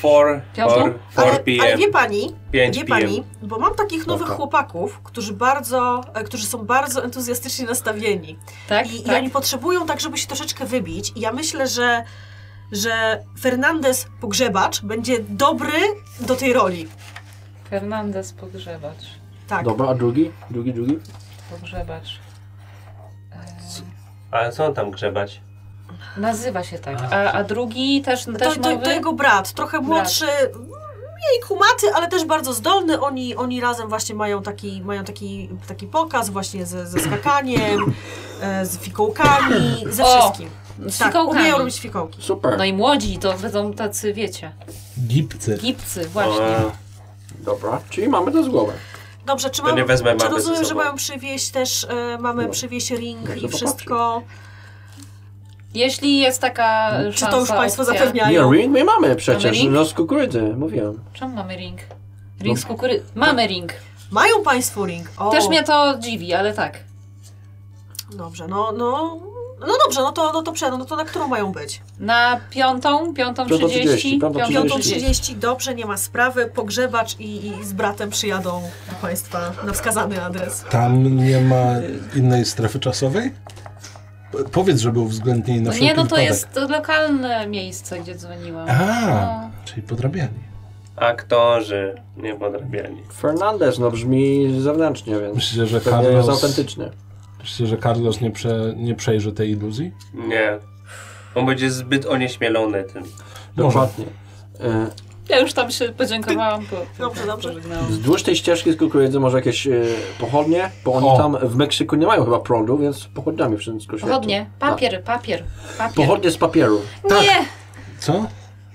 J: 4,
F: Piątą?
J: 4, 4
C: Ale, ale
J: p.m.
C: wie pani,
J: 5
C: wie
J: p.m.
C: pani, bo mam takich nowych
D: Dobra.
C: chłopaków, którzy bardzo, e, którzy są bardzo entuzjastycznie nastawieni.
F: Tak,
C: I, I
F: tak.
C: oni potrzebują tak, żeby się troszeczkę wybić. I ja myślę, że, że Fernandez Pogrzebacz będzie dobry do tej roli.
F: Fernandez pogrzebacz.
C: Tak.
D: Dobra, a drugi? Drugi, drugi?
F: Pogrzebacz.
G: Ale co on tam grzebać?
F: Nazywa się tak. A, a drugi też,
C: No To,
F: też
C: to,
F: nowy?
C: to jego brat, trochę młodszy, mniej kumaty, ale też bardzo zdolny. Oni, oni razem właśnie mają taki, mają taki, taki pokaz właśnie ze, ze skakaniem, e, z fikołkami, ze
F: O,
C: wszystkim.
F: Z
C: Tak,
F: fikołkami.
C: umieją robić fikołki.
D: Super.
F: No i młodzi to będą tacy, wiecie,
E: Gipcy.
F: gipcy
D: No,
F: właśnie.
G: O,
D: Dobra, czyli mamy to z głowy.
C: Dobrze, czy,
G: To
C: mam,
G: nie
C: czy
G: wezmę mamy
C: rozumiem,
G: ze
C: że
G: sobą.
C: mają przywieźć też, e, mamy
D: No.
C: przywieźć ring
D: Jak
C: i
D: to
C: wszystko.
F: Jeśli jest taka
C: Czy
F: szansa,
C: to już Państwo
F: opcja.
C: zapewniają?
D: Nie, ring my mamy przecież.
F: ring?
D: No z kukurydzy, mówiłem.
F: Czemu mamy ring? Ring
D: No.
F: z kukury... Mamy ring.
C: Mają Państwo ring. O,
F: Też mnie to dziwi, ale tak.
C: Dobrze, no, no, no dobrze, no to, no to przed, no to na którą mają być?
F: Na piątą,
D: Piątą
F: piątą trzydzieści,
D: trzydzieści, piątą
F: piątą trzydzieści.
C: 5.30, dobrze, nie ma sprawy, pogrzebacz i, i z bratem przyjadą do Państwa na wskazany adres.
E: Tam nie ma innej strefy czasowej? P- Powiedz, żeby uwzględnili na
F: No
E: wszelki
F: nie, no to
E: wypadek.
F: jest lokalne miejsce, gdzie dzwoniłam.
E: A,
F: No.
E: czyli podrabiani.
G: Aktorzy nie podrabiali.
D: Fernandez, no brzmi zewnętrznie, więc
E: Myślicie, że
D: pewnie jest
E: Carlos,
D: autentyczny.
E: myślicie, że Carlos nie, prze, nie przejrzy tej iluzji?
G: Nie. On będzie zbyt onieśmielony tym.
D: Dokładnie. E,
F: Ja już tam się podziękowałam, bo...
C: Dobrze, dobrze.
F: pożegnałam.
D: Wzdłuż tej ścieżki z kukurydzy może jakieś e, pochodnie, bo oni
E: O.
D: tam w Meksyku nie mają chyba prądu, więc pochodniami wszystko światło.
F: Pochodnie, papier, papier,
D: Tak.
F: papier. No
D: Pochodnie z papieru.
F: Nie!
E: Co?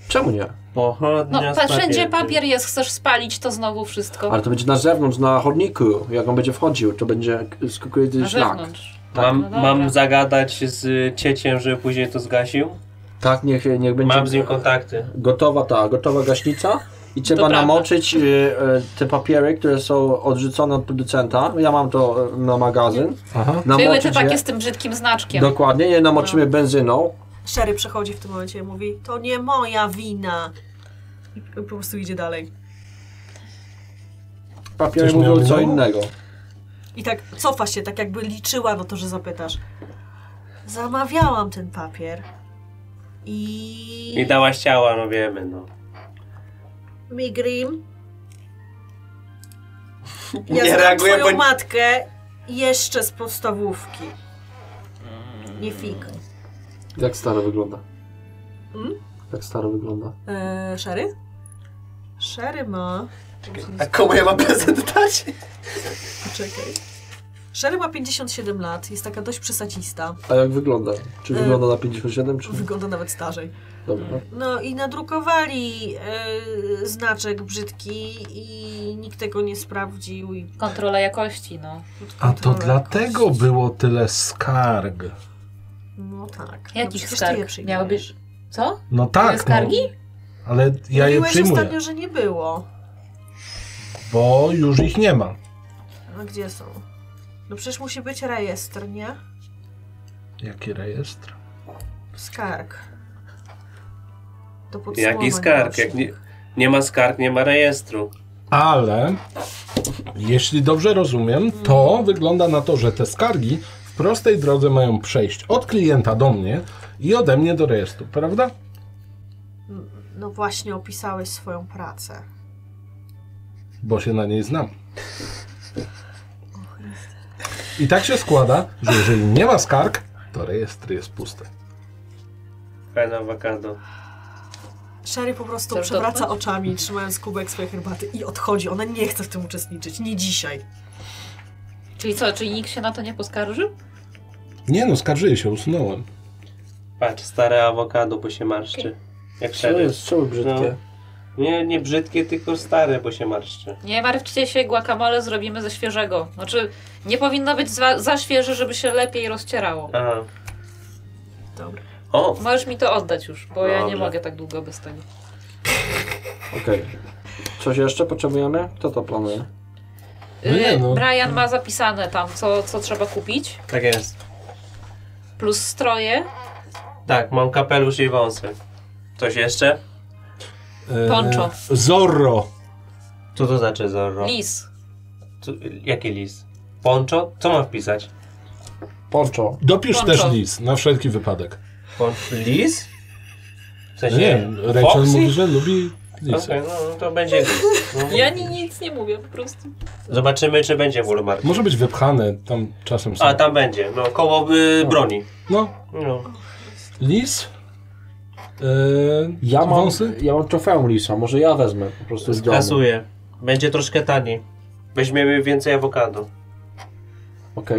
D: Czemu nie?
G: Pochodnia
F: No, pa, wszędzie papier jest, chcesz spalić to znowu wszystko.
D: Ale to będzie na zewnątrz, na chodniku. Jak on będzie wchodził, to będzie k- z kukurydzy
F: Na
D: szlak.
F: zewnątrz.
G: Mam,
F: No dobra.
G: mam zagadać z cieciem, żeby później to zgasił.
D: Tak, niech, niech będzie.
G: Mam z nim kontakty.
D: Gotowa ta, gotowa gaśnica. I trzeba
F: prawda.
D: namoczyć y, y, te papiery, które są odrzucone od producenta. Ja mam to y, na magazyn.
E: Aha.
F: Były
D: Namoczyć
F: te takie
D: je.
F: z No. tym brzydkim znaczkiem.
D: Dokładnie, je namoczymy benzyną.
C: Sherry przechodzi w tym momencie i mówi, to nie moja wina. I po prostu idzie dalej.
D: Papiery
E: Ktoś
D: mówią
E: miał
D: co
E: minął?
D: innego.
C: I tak cofa się, tak jakby liczyła na to, że zapytasz. Zamawiałam ten papier
G: I dałaś ciała, no wiemy, no.
C: Migrim.
J: Nie
C: Ja znam
J: reaguję,
C: twoją
J: bo-
C: matkę jeszcze z podstawówki. Nie fik.
D: Jak staro wygląda?
F: Hmm?
C: Mm?
D: Jak staro wygląda?
C: Eee, Szary? Szary ma...
J: A komu ja mam prezent dać?
C: Poczekaj. Szary ma 57 lat, jest taka dość przesadzista.
D: A jak wygląda? Czy
C: Y.
D: wygląda na 57 czy...
C: Wygląda nawet starzej.
D: Dobra.
C: No i nadrukowali eee, znaczek brzydki i nikt tego nie sprawdził. I
F: Kontrola jakości, no.
E: A to dlatego było tyle skarg.
C: No tak.
F: Jakich
C: no,
F: skarg? Miały
C: Miały
F: być- Co?
E: No
F: Były
E: tak, no,
F: skargi?
E: ale ja je
C: Mówiłeś
E: przyjmuję,
C: ostatnio, że nie było.
E: bo już ich nie ma.
C: A gdzie są? No przecież musi być rejestr, nie?
E: Jaki rejestr?
C: Skarg. Do podsumowań
G: Jaki skarg? Jak
C: rocznych.
G: nie, nie ma skarg, nie ma rejestru.
E: Ale jeśli dobrze rozumiem, to wygląda na to, że te skargi w prostej drodze mają przejść od klienta do mnie i ode mnie do rejestru, prawda?
C: No właśnie opisałeś swoją pracę.
E: Bo się na niej znam. I tak się składa, że jeżeli nie ma skarg, to rejestr jest pusty.
G: Fajna awokado.
C: Sherry po prostu
F: Chcesz
C: przewraca
F: dotknąć?
C: oczami, trzymając kubek swojej herbaty i odchodzi. Ona nie chce w tym uczestniczyć. Nie dzisiaj.
F: Czyli co, czyli nikt się na to nie poskarżył?
E: Nie no, skarżyję się, usunąłem.
G: Patrz, stare awokado, bo się marszczy. Jak
D: Co
G: szeryf.
D: jest? Czemu brzydkie?
G: No. Nie, nie brzydkie, tylko stare, bo się marszczy.
F: Nie martwcie się, guacamole zrobimy ze świeżego. Znaczy, nie powinno być za, za świeże, żeby się lepiej rozcierało.
G: Aha.
C: Dobra.
G: O,
F: Możesz mi to oddać już, bo ja nie
G: Dobra.
F: mogę tak długo bez tego.
D: Okej. Coś jeszcze potrzebujemy? Kto to planuje?
E: No nie,
F: Y,
E: no.
F: Brian ma zapisane tam, co, co trzeba kupić,
G: tak jest.
F: plus stroje,
G: Tak, mam kapelusz i wąsy. Coś jeszcze?
E: E,
F: Poncho.
E: Zorro.
G: Co to znaczy
E: No.
G: Zorro?
F: lis.
G: Co, jaki lis? Poncho? Co mam wpisać?
D: Poncho.
E: Dopisz
F: Poncho.
E: też lis, na wszelki wypadek.
G: Pon... Lis? W sensie...
E: Nie, Rachel
G: Foxy?
E: mówi, że lubi lisy.
G: Okej, no no to będzie lis. No.
F: Ja ni, nic nie mówię po prostu.
E: No.
G: Zobaczymy, czy będzie w Walmart.
E: Może być wypchane, tam czasem są.
G: A, tam będzie. No, koło y, broni.
E: No,
G: No.
E: lis. Yy,
D: Ja mam,
E: wąsy?
D: ja mam trofeum lisa, może ja wezmę po prostu z domu. Okej,
G: Kasuję. Będzie troszkę taniej. Weźmiemy więcej awokado.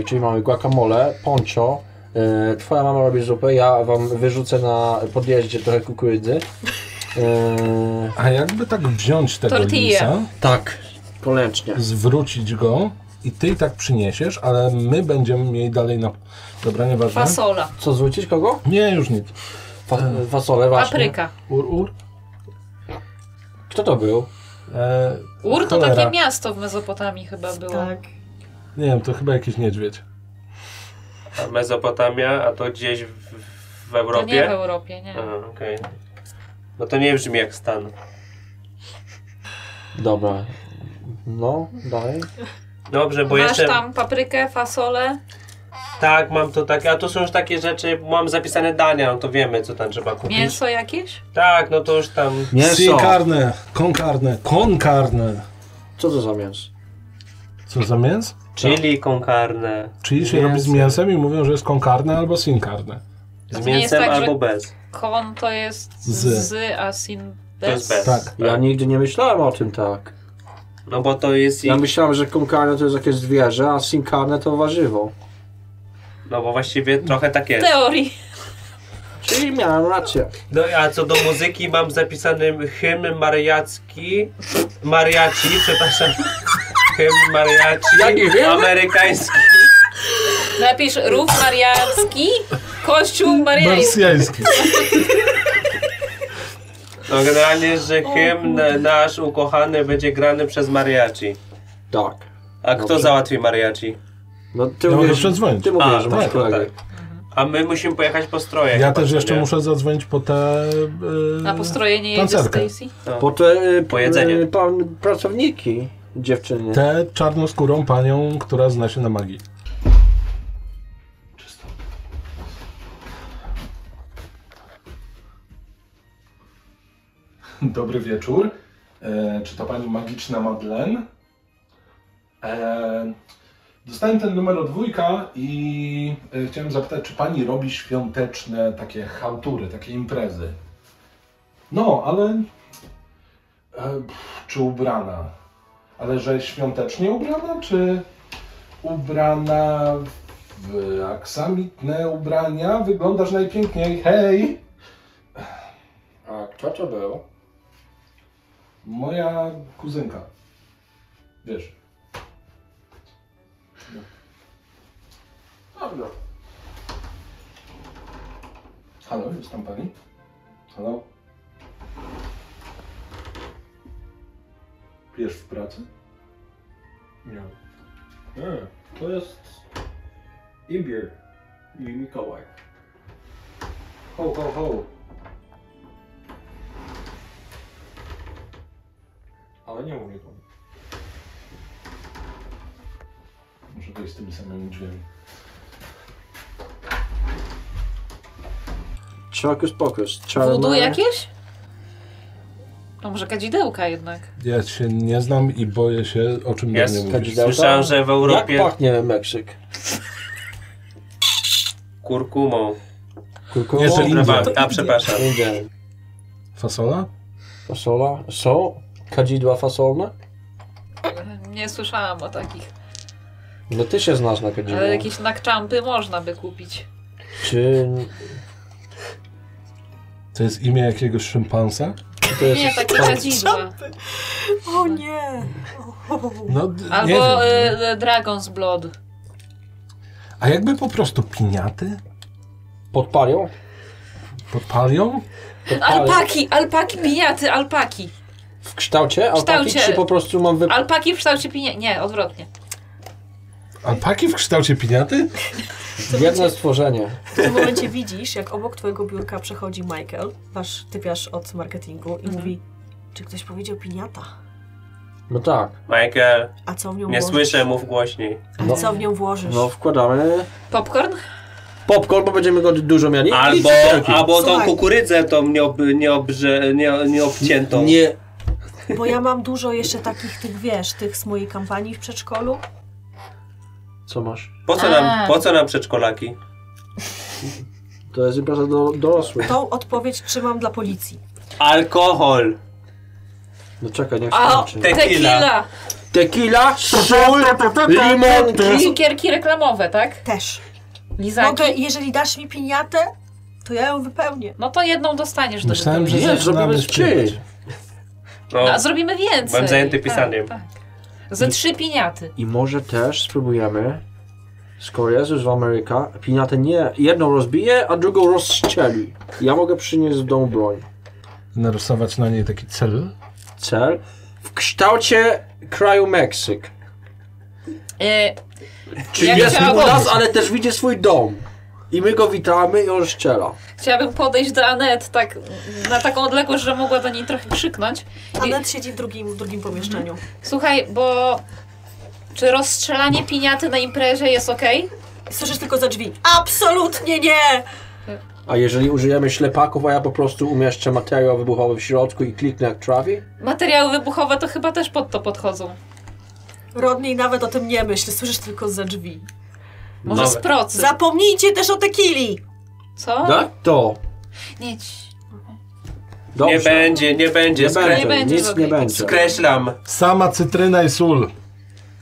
D: czyli mamy guacamole, poncho, e, twoja mama robi zupę, ja wam wyrzucę na podjeździe trochę kukurydzy. E,
E: A jakby tak wziąć tego
F: Tortilla.
E: lisa,
D: tak, polęcznie.
E: zwrócić go i ty i tak przyniesiesz, ale my będziemy mieli dalej na... Dobra, nieważne.
F: Fasola,
D: Co, zwrócić kogo?
E: Nie, już nic.
D: Fa fasole właśnie.
F: papryka.
E: Ur, ur.
D: Kto to był?
E: E,
F: Ur to
E: cholera.
F: takie miasto w Mezopotamii chyba było.
C: Tak.
E: Nie wiem, to chyba jakiś niedźwiedź.
G: A Mezopotamia, a to gdzieś w, w
F: To
G: Europie? E,
F: nie w Europie, nie.
G: A, okej. No to nie brzmi jak stan.
D: Dobra. No, dalej.
G: Dobrze, bo
F: Masz
G: jeszcze...
F: tam paprykę, fasolę,
G: Tak, mam to takie, a to są już takie rzeczy, mam zapisane dania, no to wiemy, co tam trzeba kupić.
F: mięso jakieś?
G: Tak, no to już tam...
E: Si
D: Mięso.
E: karne, kon karne, kon karne.
D: Co to za mięso?
E: Co za mięs?
G: Chili con carne.
E: Czyli się robi z mięsem i mówią, że jest con carne albo sin carne.
G: Z
F: nie jest
G: mięsem
F: tak, że-
G: albo bez.
F: Kon to jest
E: Z.
F: z, a sin
G: To jest bez.
E: Tak.
D: Ja nigdy nie myślałem o tym tak.
G: No bo to jest... i-
D: Ja myślałem, że konkarne to jest jakieś zwierzę, a sinkarne to warzywo.
G: No bo właściwie trochę tak
F: W
G: jest.
F: teorii.
D: Czyli miałem rację.
G: No a co do muzyki mam zapisany hymn mariacki, mariaci, przepraszam, hymn
D: Jaki
G: mariaci
D: hymn?
G: amerykański.
F: Napisz rów mariacki, kościół mariański.
E: Marsjański.
G: No generalnie, że hymn nasz ukochany będzie grany przez mariaci.
D: Tak.
G: A kto
D: Dobrze.
G: załatwi mariaci?
D: No ty
E: Ja mogę
D: mówisz,
E: przedzwonić.
D: ty mówisz,
G: A,
D: że masz
E: tak,
D: kolegę.
G: A my musimy pojechać po stroje.
E: Ja
G: chyba,
E: też
G: co
E: jeszcze
G: nie?
E: muszę zadzwonić po te... Yy,
F: Na postrojenie jedzie
E: Tancerkę.
F: Stacy.
G: No.
D: Po te y, p-
G: Pojedzenie.
D: y, pan, pracowniki, dziewczyny.
E: Tę czarnoskórą panią, która zna się na magii. Dobry wieczór. E, czy to pani magiczna Madlen? E, dostałem ten numer od wujka i e, chciałem zapytać, czy pani robi świąteczne takie chałtury, takie imprezy? No, ale... E, pff, czy ubrana? Ale że świątecznie ubrana, czy ubrana w aksamitne ubrania? Wyglądasz najpiękniej, hej!
D: A kto to był?
E: Moja kuzynka. Wiesz. Dobra. Halo, jest tam pani? Halo? Pijesz w pracy?
I: Nie. Nie, to jest Imbier i Mikołaj.
E: Ho, ho, ho.
I: Ale nie mówię to.
E: Muszę wejść z tymi samymi drzwiami.
D: Czokus pokus.
F: Wudu
D: Charmer.
F: jakieś? No może kadzidełka jednak.
E: Ja się nie znam i boję się o czym
G: Jest.
E: do mnie mówisz.
D: Kadzidełka?
G: Słyszałem, że w Europie
D: Jak pachnie Meksyk?
G: kurkumą.
D: Kurkumą?
E: Jeszcze
G: Trawami. A przepraszam.
D: India.
E: Fasola?
D: Fasola? Są kadzidła fasolne?
F: Nie słyszałam o takich.
D: No ty się znasz na kadzidłach.
F: Ale jakieś nakczampy można by kupić.
D: Czy
E: To jest imię jakiegoś szympansa?
D: to
F: Nie, takie kadzidła.
C: O nie! O.
E: No, d- nie
F: Albo
E: wiem.
F: y, y, Dragon's Blood.
E: A jakby po prostu piniaty
D: podpalią?
E: podpalią?
F: Alpaki, alpaki, pijaty, alpaki.
D: W kształcie? A taki
F: kształcie.
D: czy po prostu mam wy...
F: Alpaki w kształcie pijaty. Nie, odwrotnie.
E: Alpaki w kształcie piniaty?
D: jedno stworzenie?
C: W tym momencie widzisz, jak obok twojego biurka przechodzi Michael, wasz typiarz od marketingu i mówi, czy ktoś powiedział piniata?
D: No tak.
G: Michael,
C: A co w nią
G: nie
C: włożysz?
G: słyszę, mów głośniej.
C: A co w nią włożysz?
D: No wkładamy
F: Popcorn?
D: popcorn, bo będziemy go dużo mieli. I
G: Albo,
D: cukierki.
G: albo tą
C: Słuchaj.
G: kukurydzę tą nieob, nieobrze, nie, nieobciętą.
D: Nie,
C: Bo ja mam dużo jeszcze takich tych, wiesz, tych z mojej kampanii w przedszkolu.
D: co masz?
G: Po co
F: A.
G: nam, po co nam przedszkolaki?
D: To jest impreza do dorosłych.
C: Tą odpowiedź trzymam dla policji.
G: Alkohol.
D: No czekaj, niech
F: A,
D: skończy.
G: te-
F: tequila.
G: Tequila.
D: Tequila, sól, limonki.
F: Cukierki reklamowe, tak?
C: Też. Mogę,
F: Lizaki.
C: jeżeli dasz mi piniatę, to ja ją wypełnię.
F: No to jedną dostaniesz do
E: Myślałem, że
F: tego.
D: Nie, zrobimy
E: zaczynamy śpiewać.
D: szczyt.
G: No,
F: No, a zrobimy więcej.
G: Byłem zajęty pisaniem.
F: Tak, tak. Ze trzy piniaty.
D: I może też spróbujemy, skoro jest już w Ameryka, pinatę nie, jedną rozbije, a drugą rozstrzeli. Ja mogę przynieść w domu broń.
E: Narysować na niej taki cel.
D: Cel w kształcie kraju Meksyk.
F: E,
D: Czyli
F: Ja
D: jest
F: chciałabym-
D: u nas, ale też widzi swój dom. I my go witamy i on strzela.
F: chciałabym podejść do Anet tak, na taką odległość, że mogła do niej trochę krzyknąć. I, Mhm.
C: Anet siedzi w drugim, w drugim pomieszczeniu.
F: słuchaj, bo czy rozstrzelanie piniaty na imprezie jest okej?
C: Słyszysz tylko za drzwi. Absolutnie nie!
D: A jeżeli użyjemy ślepaków, a ja po prostu umieszczę materiał wybuchowy w środku i kliknę jak trawi?
F: Materiały wybuchowe to chyba też pod to podchodzą.
C: Rodney nawet o tym nie myśl, słyszysz tylko za drzwi.
F: Może
G: Nowe.
F: z procy.
C: Zapomnijcie też o tekili!
F: Co?
D: Tak? To.
F: Nie, ci-
D: Dobrze.
G: nie będzie, nie będzie.
D: Nie
G: skre-
D: będzie,
F: będzie
D: nic nie
F: żadnej
D: będzie.
G: Skreślam.
E: Sama cytryna i sól.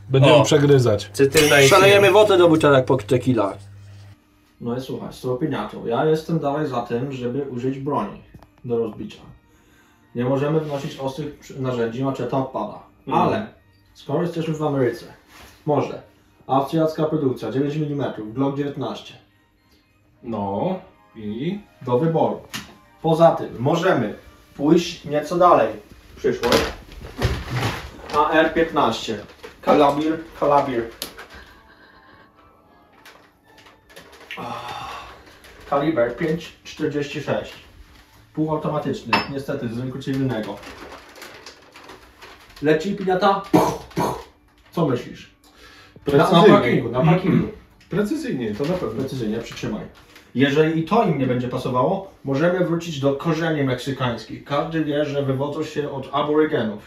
E: Będziemy
G: O.
E: przegryzać.
G: Cytryna i
D: Szalejemy wodę do butelek po tequila.
I: No i słuchaj, z tą opiniatą. Ja jestem dalej za tym, żeby użyć broni do rozbicia. Nie możemy wnosić ostrych przy- narzędzi, maczeta odpada. Ale skoro jesteśmy w Ameryce, może austriacka produkcja 9 mm, Glock 19
E: No i.
I: do wyboru. Poza tym możemy pójść nieco dalej w przyszłość na R15. Kalabir, kalabir. Ah, Kaliber 5,46. Półautomatyczny, niestety z rynku cywilnego. Leci piniata? Puch, puch. Co myślisz? Na, na parkingu, na parkingu.
E: Precyzyjnie, to na pewno.
I: Precyzyjnie, przytrzymaj. Jeżeli i to im nie będzie pasowało, możemy wrócić do korzeni meksykańskich. Każdy wie, że wywodzą się od aborygenów,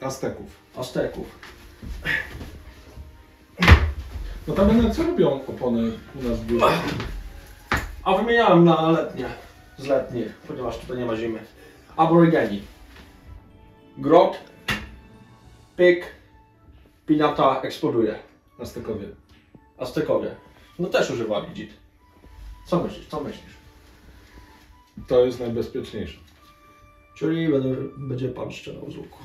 E: Azteków.
I: Azteków.
E: No tam jednak co robią opony u nas w biurze?
I: A wymieniałem na letnie, z letnich, ponieważ tutaj nie ma zimy. Aborygeni. Grot, pyk, pinata eksploduje.
E: Aztekowie.
I: Aztekowie. No też używali dzit. Co myślisz, co myślisz?
E: To jest najbezpieczniejsze.
I: Czyli będę, będzie pan strzelał z łuku.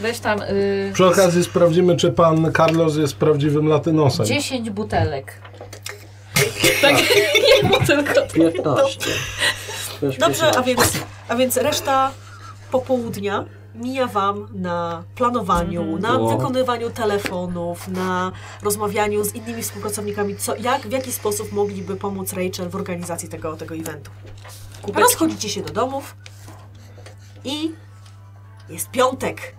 F: Weź tam y,
E: Przy okazji sprawdzimy, czy pan Carlos jest prawdziwym latynosem.
F: 10 butelek. Tak, nie było tylko to.
D: 15. Też
C: Dobrze,
D: 15.
C: a więc, a więc reszta popołudnia mija wam na planowaniu, na
D: No.
C: wykonywaniu telefonów, na rozmawianiu z innymi współpracownikami, co, jak, w jaki sposób mogliby pomóc Rachel w organizacji tego, tego eventu. Rozchodzicie się do domów i jest piątek.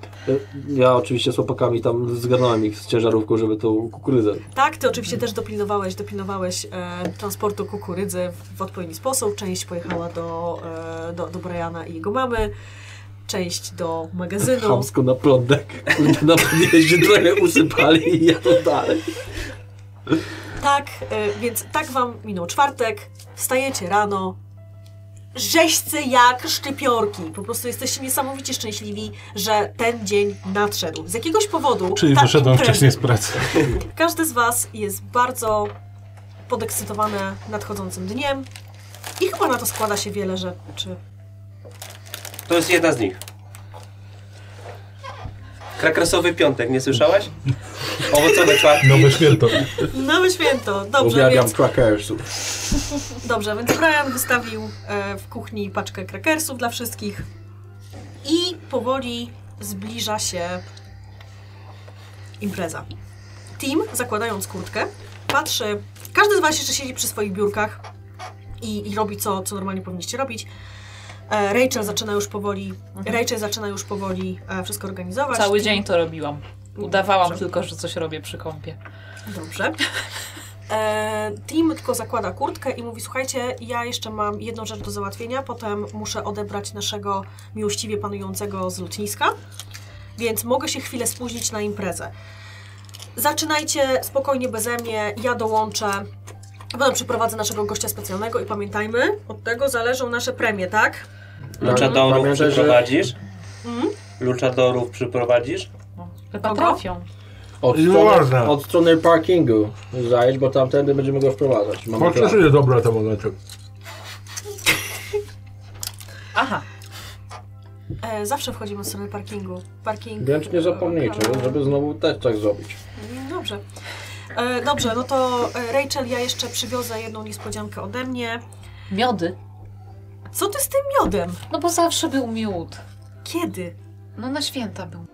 D: Ja oczywiście z chłopakami tam zgarnąłem ich z ciężarówką, żeby tą kukurydzę.
C: Tak, ty oczywiście też dopilnowałeś, dopilnowałeś e, transportu kukurydzy w, w odpowiedni sposób. Część pojechała do, e, do, do Briana i jego mamy, część do magazynu.
D: Chamsko na plądek. Kurde, na podjeździe trochę usypali i ja to dalej.
C: Tak, e, więc tak wam minął czwartek, wstajecie rano, rzeźce jak szczypiorki. Po prostu jesteście niesamowicie szczęśliwi, że ten dzień nadszedł. Z jakiegoś powodu.
E: Czyli
C: ta
E: wyszedłem
C: impreza-
E: wcześniej z pracy.
C: Każdy z Was jest bardzo podekscytowane nadchodzącym dniem i chyba na to składa się wiele rzeczy.
G: To jest jedna z nich. Krakrasowy piątek, nie słyszałaś? Owocowe czwartki.
E: Nowe święto.
C: Nowe święto, dobrze,
K: Uwielbiam
C: więc,
K: crackersów.
C: dobrze, więc Brian wystawił e, w kuchni paczkę krakersów dla wszystkich i powoli zbliża się impreza. Tim, zakładając kurtkę, patrzy, każdy z Was jeszcze siedzi przy swoich biurkach i, i robi co, co normalnie powinniście robić. E, Rachel zaczyna już powoli, Rachel zaczyna już powoli e, wszystko organizować.
F: Mhm. Cały
C: Tim-
F: dzień to robiłam. Udawałam
C: Dobrze.
F: tylko, że coś robię przy kąpie.
C: Dobrze. E, Tim tylko zakłada kurtkę i mówi: Słuchajcie, ja jeszcze mam jedną rzecz do załatwienia, potem muszę odebrać naszego miłościwie panującego z lotniska, więc mogę się chwilę spóźnić na imprezę. Zaczynajcie spokojnie beze mnie, ja dołączę. Potem przyprowadzę naszego gościa specjalnego i pamiętajmy, od tego zależą nasze premie, tak?
G: Luchadorów
D: Pamiętaj, że-
G: przyprowadzisz?
C: Mhm.
G: Luchadorów przyprowadzisz?
F: Chyba trafią.
D: Od
E: Nie
D: strony,
E: można.
D: od strony parkingu zajedź, bo tamtędy będziemy go wprowadzać. Mamy plan.
E: Chociaż jest dobra ta momencie.
F: Aha.
C: E, zawsze wchodzimy od strony parkingu. Parking.
D: Więc nie zapomnijcie, żeby znowu też tak zrobić.
C: Dobrze. E, dobrze, no to e, Rachel, ja jeszcze przywiozę jedną niespodziankę ode mnie.
F: Miody.
C: Co ty z tym miodem?
F: No bo zawsze był miód.
C: Kiedy?
F: No na święta był.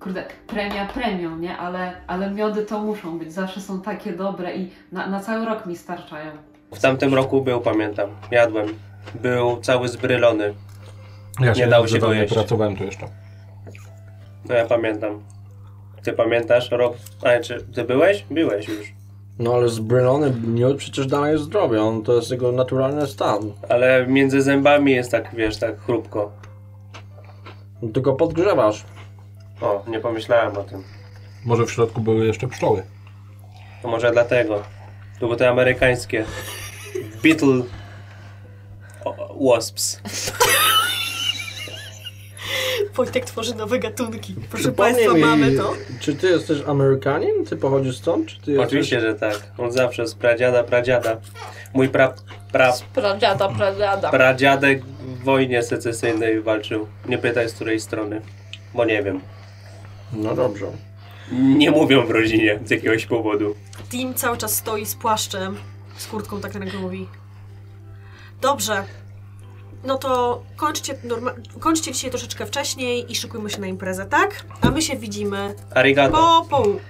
L: Kurde, premia premią, nie? Ale, ale miody to muszą być. Zawsze są takie dobre i na, na cały rok mi starczają.
G: W tamtym roku był, pamiętam. Jadłem. Był cały zbrylony.
E: Ja się
G: dało się
E: zadanie
G: dojeść.
E: pracowałem tu jeszcze.
G: No ja pamiętam. Ty pamiętasz, Rob? A czy ty byłeś? Byłeś już.
D: No ale zbrylony miód przecież daje zdrowie, on to jest jego naturalny stan.
G: Ale między zębami jest tak, wiesz, tak chrupko.
D: Tylko podgrzewasz.
G: O, nie pomyślałem o tym.
E: Może w środku były jeszcze pszczoły.
G: To może dlatego. To było te amerykańskie. Beetle... o- Wasps.
C: Wojtek tworzy nowe gatunki. Proszę
D: Przypomnij
C: Państwa,
D: mi,
C: mamy to.
D: Czy ty jesteś Amerykanin? Ty pochodzisz stąd? Czy ty jesteś...
G: Oczywiście, że tak. On zawsze z pradziada, pradziada. Mój pra... pra
F: Pradziada, pradziada.
G: pradziadek w wojnie secesyjnej walczył. Nie pytaj z której strony, bo nie wiem.
D: No dobrze.
G: Nie mówią w rodzinie z jakiegoś powodu.
C: Tim cały czas stoi z płaszczem, z kurtką tak na rękę mówi. Dobrze. No to kończcie, norma- kończcie dzisiaj troszeczkę wcześniej i szykujmy się na imprezę, tak? A my się widzimy
G: Arigato.
C: po poł.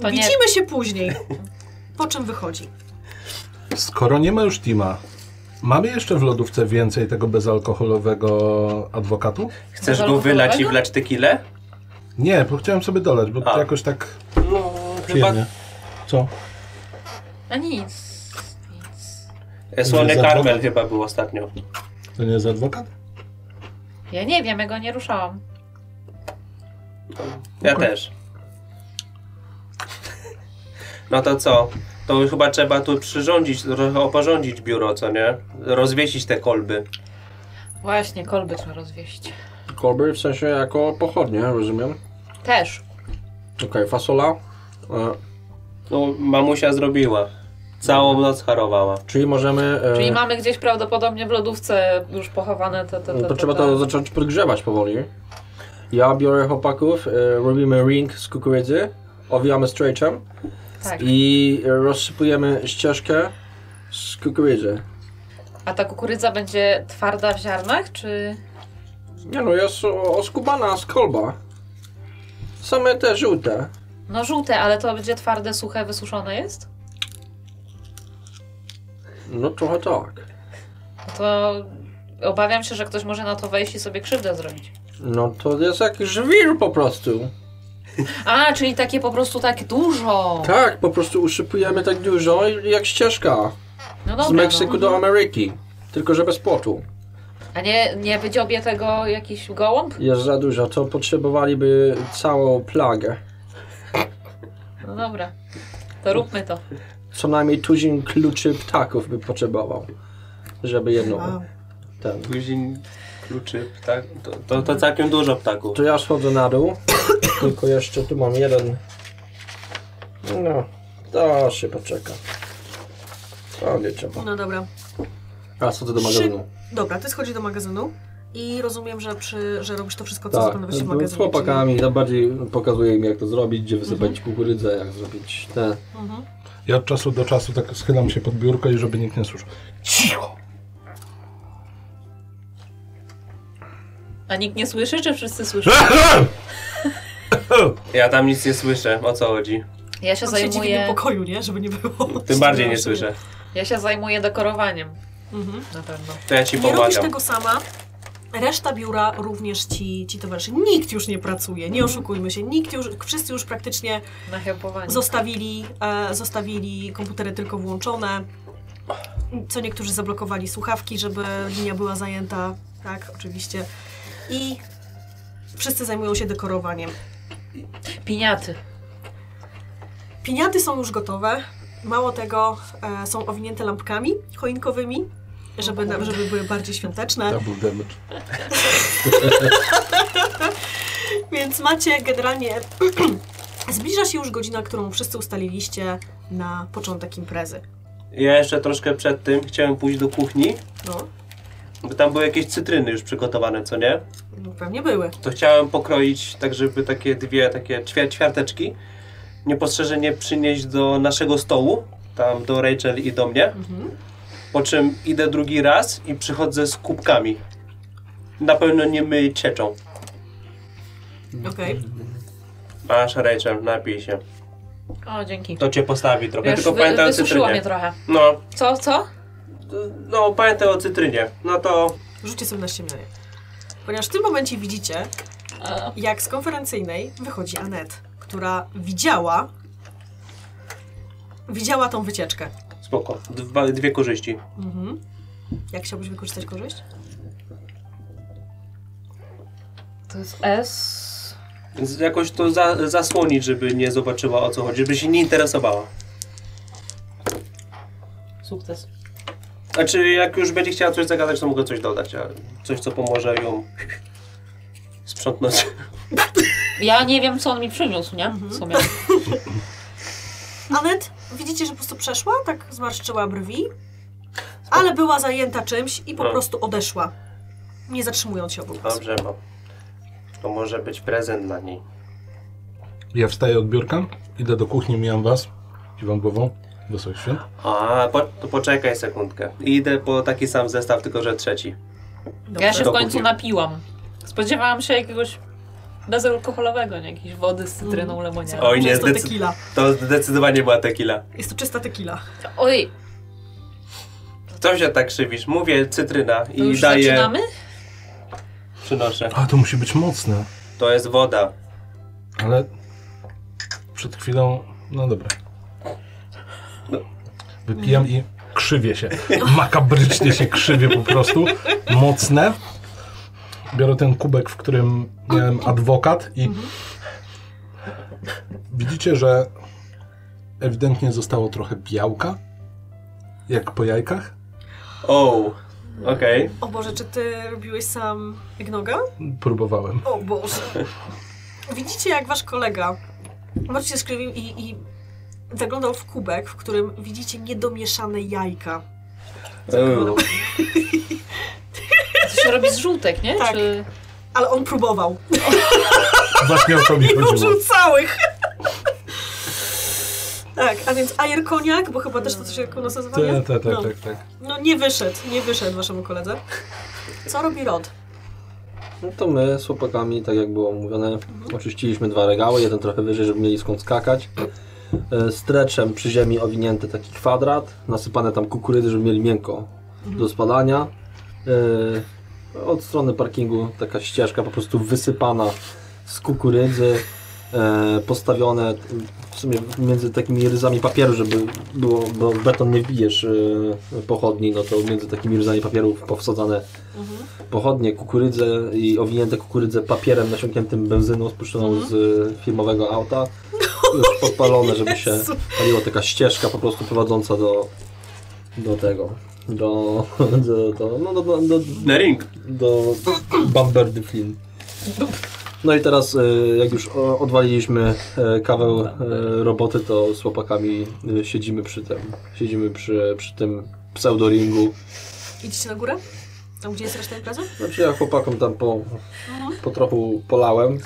F: To nie-
C: Widzimy się później. Po czym wychodzi?
E: Skoro nie ma już Tima, mamy jeszcze w lodówce więcej tego bezalkoholowego adwokatu?
G: Chcesz go wylać i wlać tequilę?
E: Nie, bo chciałem sobie dolać, bo
G: A.
E: to jakoś tak
G: No, chyba...
E: przyjemnie. Co?
F: A nic. Nic.
G: Słone
E: Za- za-
G: Carmel chyba był ostatnio.
E: To nie jest adwokat?
F: Ja nie wiem, ja go nie ruszałam.
G: Ja też. No to co? To chyba trzeba tu przyrządzić, trochę oporządzić biuro, co nie? Rozwiesić te kolby.
F: Właśnie, kolby trzeba rozwieść.
D: Kolby w sensie jako pochodnie, rozumiem.
F: Też.
D: Okej, fasola. E,
G: No, mamusia zrobiła. Całą noc harowała.
D: czyli możemy... E,
F: Czyli mamy gdzieś prawdopodobnie w lodówce już pochowane te, te, te, te,
D: No to trzeba
F: te. Tak,
D: to zacząć podgrzewać powoli. Ja biorę chłopaków, e, robimy ring z kukurydzy, owijamy straightem
F: Tak.
D: i rozsypujemy ścieżkę z kukurydzy.
F: A ta kukurydza będzie twarda w ziarnach, czy...
D: Nie no, jest o- oskubana z kolba. Same te żółte.
F: No żółte, ale to będzie twarde, suche, wysuszone jest?
D: No trochę tak.
F: No to obawiam się, że ktoś może na to wejść i sobie krzywdę zrobić.
D: No to jest jak żwir po prostu.
F: A, czyli takie po prostu tak dużo.
D: Tak, po prostu uszypujemy tak dużo i- jak ścieżka.
F: No dobra,
D: Z Meksyku
F: no.
D: do Ameryki. Tylko, że bez płotu.
F: A nie, nie wydziobie tego jakiś gołąb?
D: Jest za dużo, to potrzebowaliby całą plagę.
F: No dobra. To róbmy to.
D: Co najmniej tuzin kluczy ptaków by potrzebował. żeby jedną.
C: Wow.
D: Ten.
G: Później kluczy tak? ptak. To, to, to całkiem dużo ptaków.
D: To ja schodzę na dół. Tylko jeszcze tu mam jeden. No, to się poczeka. To nie trzeba.
C: No dobra.
D: A co to do magazynu?
C: Dobra, ty schodzi do magazynu i rozumiem, że, przy, że robisz to wszystko, co
D: Tak,
C: zaplanować
G: no,
C: w
D: z
C: magazynie.
D: chłopakami. Tam bardziej pokazuje im, jak to zrobić, gdzie wysypać
C: Mhm.
D: kukurydzę, jak zrobić te.
C: Czyli... Mhm.
E: Ja od czasu do czasu tak schylam się pod biurko i żeby nikt nie słyszał. Cicho!
F: A nikt nie słyszy, czy wszyscy słyszą?
G: Ja tam nic nie słyszę, o co chodzi.
F: Ja się
C: On siedzi w innym
F: zajmuję,
C: pokoju, nie? Żeby nie było.
G: Tym bardziej nie słyszę.
F: ja się zajmuję dekorowaniem.
C: Mhm.
F: Na pewno.
G: To ja ci
C: Nie robisz
G: pomagam.
C: tego sama. Reszta biura również ci, ci towarzyszy. Nikt już nie pracuje, nie oszukujmy się. Nikt już, wszyscy już praktycznie
F: Na helpowanie.
C: zostawili, e, zostawili komputery tylko włączone. Co niektórzy zablokowali słuchawki, żeby linia była zajęta. Tak, oczywiście. I wszyscy zajmują się dekorowaniem.
F: Piniaty.
C: Piniaty są już gotowe. Mało tego, e, są owinięte lampkami choinkowymi, żeby, na- żeby były bardziej świąteczne.
E: Double damage.
C: Więc macie generalnie. Zbliża się już godzina, którą wszyscy ustaliliście na początek imprezy.
G: Ja jeszcze troszkę przed tym chciałem pójść do kuchni,
C: No,
G: bo tam były jakieś cytryny już przygotowane, co nie?
C: no pewnie były.
G: To chciałem pokroić tak, żeby takie dwie takie ćwia- ćwiarteczki niepostrzeżenie przynieść do naszego stołu, tam do Rachel i do mnie.
C: Mhm.
G: Po czym idę drugi raz i przychodzę z kubkami. Na pewno nie my cieczą.
C: Okej.
G: Masz Rachel, napij się.
F: O, dzięki.
G: To cię postawi trochę,
F: Wiesz,
G: tylko
F: wy,
G: pamiętaj o
F: wysuszyło mnie
G: cytrynie.
F: trochę.
G: No,
F: Co, co?
G: no pamiętaj o cytrynie. No to
C: Rzućcie sobie na ściemnianie. Ponieważ w tym momencie widzicie, jak z konferencyjnej wychodzi Anet, która widziała. Widziała tą wycieczkę.
G: spoko. Dwa, dwie korzyści.
C: Mhm. Jak chciałbyś wykorzystać korzyść?
F: To jest S.
G: Z- Jakoś to za, zasłonić, żeby nie zobaczyła o co chodzi, żeby się nie interesowała.
F: Sukces.
G: Znaczy, jak już będzie chciała coś zagadać, to mogę coś dodać, ale coś, co pomoże ją sprzątnąć.
F: Ja nie wiem, co on mi przyniósł, nie? W sumie.
C: Anet, widzicie, że po prostu przeszła, tak zmarszczyła brwi, ale była zajęta czymś i po
G: No.
C: prostu odeszła, nie zatrzymując się obok was.
G: Dobrze, bo to może być prezent dla niej.
E: Ja wstaję od biurka, idę do kuchni, mijam was, kiwam głową. Wesołych świąt.
G: A, po, to poczekaj sekundkę. Idę po taki sam zestaw, tylko że trzeci.
F: Ja się
G: To
F: w końcu
G: kupił.
F: napiłam. Spodziewałam się jakiegoś bezalkoholowego, nie? Jakiejś wody z cytryną,
C: Dobrze.
F: lemoniadą.
G: Oj, nie,
C: Jest to
G: zdecyd-
C: tequila.
G: To zdecydowanie była tequila.
C: Jest to czysta tequila.
F: Oj,
G: Co się tak krzywisz? Mówię cytryna
F: to
G: i
F: już
G: daję.
F: zaczynamy?
G: Przynoszę.
E: A, to musi być mocne,
G: To jest woda.
E: ale przed chwilą... No dobra. Wypijam i krzywię się. Makabrycznie się krzywię po prostu. Mocne. Biorę ten kubek, w którym miałem adwokat i widzicie, że ewidentnie zostało trochę białka, jak po jajkach.
G: O, okej.
C: O Boże, czy ty robiłeś sam Ignoga?
E: Próbowałem.
C: O Boże. Widzicie, jak wasz kolega Marcin się skrzywił i, i zaglądał w kubek, w którym widzicie niedomieszane jajka.
G: Ew.
F: To się robi z żółtek, nie?
C: Tak.
F: Czy...
C: Ale on próbował.
E: Właśnie o to mi chodziło.
C: Użył całych. tak, a więc ajer koniak, bo chyba też to się u nas nazywa, nie?
E: Tak, tak,
C: no.
E: tak, tak. tak.
C: no nie wyszedł, nie wyszedł waszemu koledze. Co robi Rod?
D: No to my z chłopakami, tak jak było mówione, oczyściliśmy dwa regały, jeden trochę wyżej, żeby mieli skąd skakać. E, Streczem przy ziemi owinięty taki kwadrat, nasypane tam kukurydzy, żeby mieli miękko do spadania. E, Od strony parkingu taka ścieżka po prostu wysypana z kukurydzy, e, postawione w sumie między takimi ryzami papieru, żeby było, bo w beton nie wbijesz e, pochodni, no to między takimi ryzami papieru powsadzane pochodnie, kukurydzę i owinięte kukurydzę papierem nasiąkniętym benzyną spuszczoną z e, firmowego auta. Już podpalone, żeby się
C: Jezu.
D: paliła taka ścieżka po prostu prowadząca do, do tego, do, do, do, no, do, do, do,
G: Na ring.
D: do Bamberdy Flynn. No i teraz, e, jak już o- odwaliliśmy e, kawał e, roboty, to z chłopakami e, siedzimy przy tym, siedzimy przy, przy tym pseudoringu.
C: Idziecie na górę? Tam, gdzie jest reszta imprezy?
D: Znaczy ja chłopakom tam po, po trochu polałem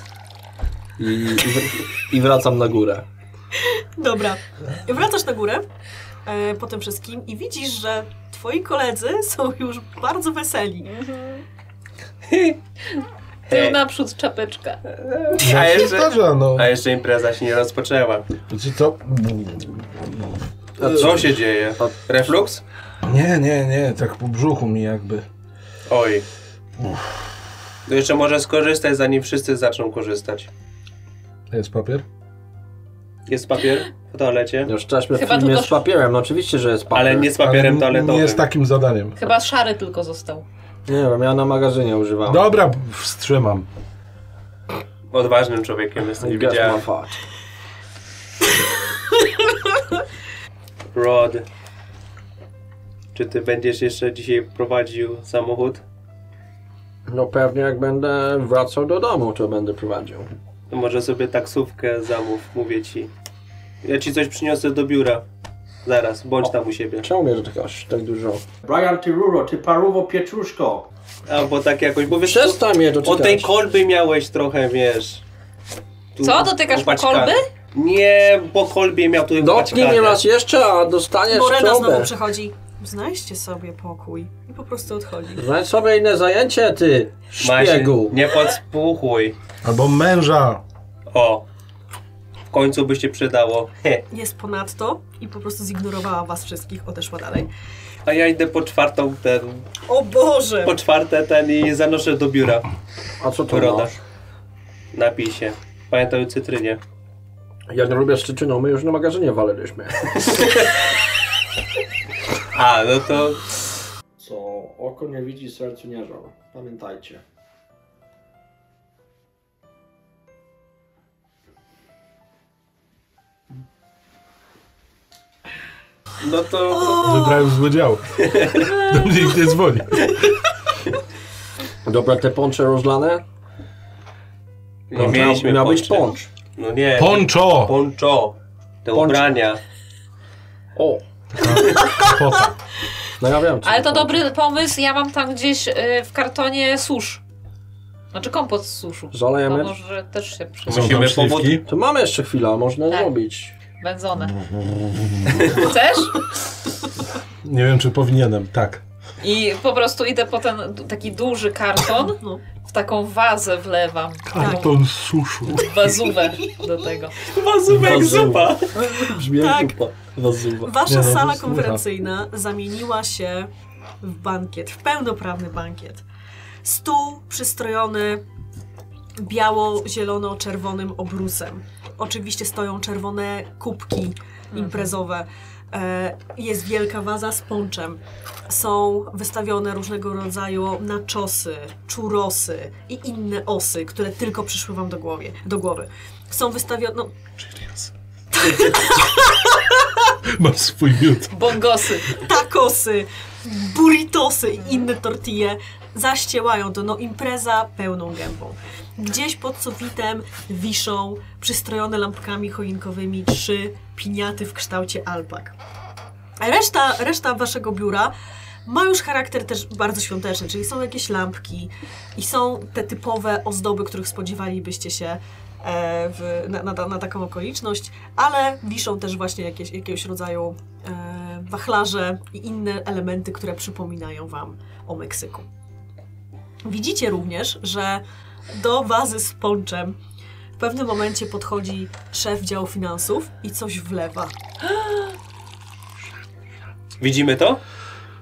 D: i, i, wr- i wracam na górę.
C: Dobra. Wracasz na górę e, po tym wszystkim i widzisz, że twoi koledzy są już bardzo weseli.
G: E,
F: Tył naprzód czapeczka.
G: A
E: się
G: jeszcze-
E: zdarza, no.
G: A jeszcze impreza się nie rozpoczęła.
E: Wiecie co?
G: A co się dzieje? Reflux?
E: Nie, nie, nie, tak po brzuchu mi jakby.
G: Oj. To jeszcze może skorzystać, zanim wszyscy zaczną korzystać.
E: Jest papier?
G: Jest papier w toalecie,
D: Już czaszmy w
F: Chyba
D: filmie
F: tylko-
D: z papierem, no oczywiście, że jest papier.
G: ale nie z
E: Ale
G: papierem
E: n-
G: toaletowym.
E: Nie jest tak- takim zadaniem.
F: Chyba szary tylko został.
D: Nie wiem, ja na magazynie używam.
E: Dobra, wstrzymam.
G: Odważnym człowiekiem jest, nie widziałem. Rod, czy ty będziesz jeszcze dzisiaj prowadził samochód?
D: No pewnie jak będę wracał do domu, to będę prowadził.
G: To może sobie taksówkę zamów, mówię ci. Ja ci coś przyniosę do biura. Zaraz, bądź tam u siebie.
D: Czemu bierzesz aż tak dużo?
I: Brian, ty ruro, ty paruwo pietruszko.
G: Albo tak jakoś, bo wiesz,
D: Przestań mnie
G: od tej
D: doczekać.
G: kolby miałeś trochę, wiesz. tu
F: Co, dotykasz po
G: opaćkane.
F: kolby?
G: Nie, po kolbie miał tu
D: Dotknij mnie raz jeszcze, a dostaniesz
C: Morena znowu
D: czobę.
C: przychodzi. Znajdźcie sobie pokój. I po prostu odchodzi.
D: Znajdź sobie inne zajęcie, ty szpiegu.
G: Nie podspuchuj.
E: Albo męża.
G: O, w końcu by się przydało. He.
C: Jest ponadto i po prostu zignorowała was wszystkich, odeszła dalej.
G: A ja idę po czwartą ten,
C: O Boże!
G: po czwarte ten i zanoszę do biura.
D: A co to
G: Roda.
D: masz?
G: Napij się. Pamiętaj o cytrynie.
D: Ja nie lubię szczyczyną, my już na magazynie waliliśmy.
G: A, no to
I: Co oko nie widzi, sercu nie żal. Pamiętajcie.
G: No to
E: Wybrałem zły dział. Do mnie nikt nie dzwoni.
D: Dobra, te poncze rozlane?
G: nie mieliśmy
D: No, miał być
G: ponczy.
D: poncz.
G: No nie.
E: Poncho!
G: Poncho. Te
D: Poncho.
G: ubrania.
D: O,
E: Pota.
D: no ja wiem. co
F: Ale
D: poncze.
F: to dobry pomysł, ja mam tam gdzieś y, w kartonie susz. Znaczy kompot z suszu. To
D: Zalejemy?
F: może też się przyda.
E: Są tam
G: Musimy powód.
E: śliwki.
D: To mamy jeszcze chwilę, można
F: Tak.
D: zrobić.
F: Wędzone. Chcesz?
E: Nie wiem, czy powinienem. Tak.
F: I po prostu idę po ten d- taki duży karton,
C: No.
F: w taką wazę wlewam,
C: Tak.
E: Karton suszu.
F: wazówę do tego.
G: Zubek,
D: Wazuba.
G: zupa.
D: Brzmi
C: Tak.
D: jak zupa. Wazuba.
C: Wasza
E: Nie, no,
C: sala
E: słucha.
C: konferencyjna zamieniła się w bankiet, w pełnoprawny bankiet. Stół przystrojony biało-zielono-czerwonym obrusem. Oczywiście stoją czerwone kubki imprezowe. E, Jest wielka waza z ponczem. Są wystawione różnego rodzaju naczosy, czurosy i inne osy, które tylko przyszły wam do, głowie, do głowy. Są wystawione... No,
E: Mam swój miód.
F: Bongosy.
C: takosy, burritosy i inne tortille zaściełają to, no impreza pełną gębą. Gdzieś pod sufitem wiszą przystrojone lampkami choinkowymi trzy piniaty w kształcie alpak. A Reszta, reszta waszego biura ma już charakter też bardzo świąteczny, czyli są jakieś lampki i są te typowe ozdoby, których spodziewalibyście się e, w, na, na, na taką okoliczność, ale wiszą też właśnie jakieś, jakiegoś rodzaju e, wachlarze i inne elementy, które przypominają Wam o Meksyku. Widzicie również, że do wazy z ponczem w pewnym momencie podchodzi szef działu finansów i coś wlewa.
G: Widzimy to?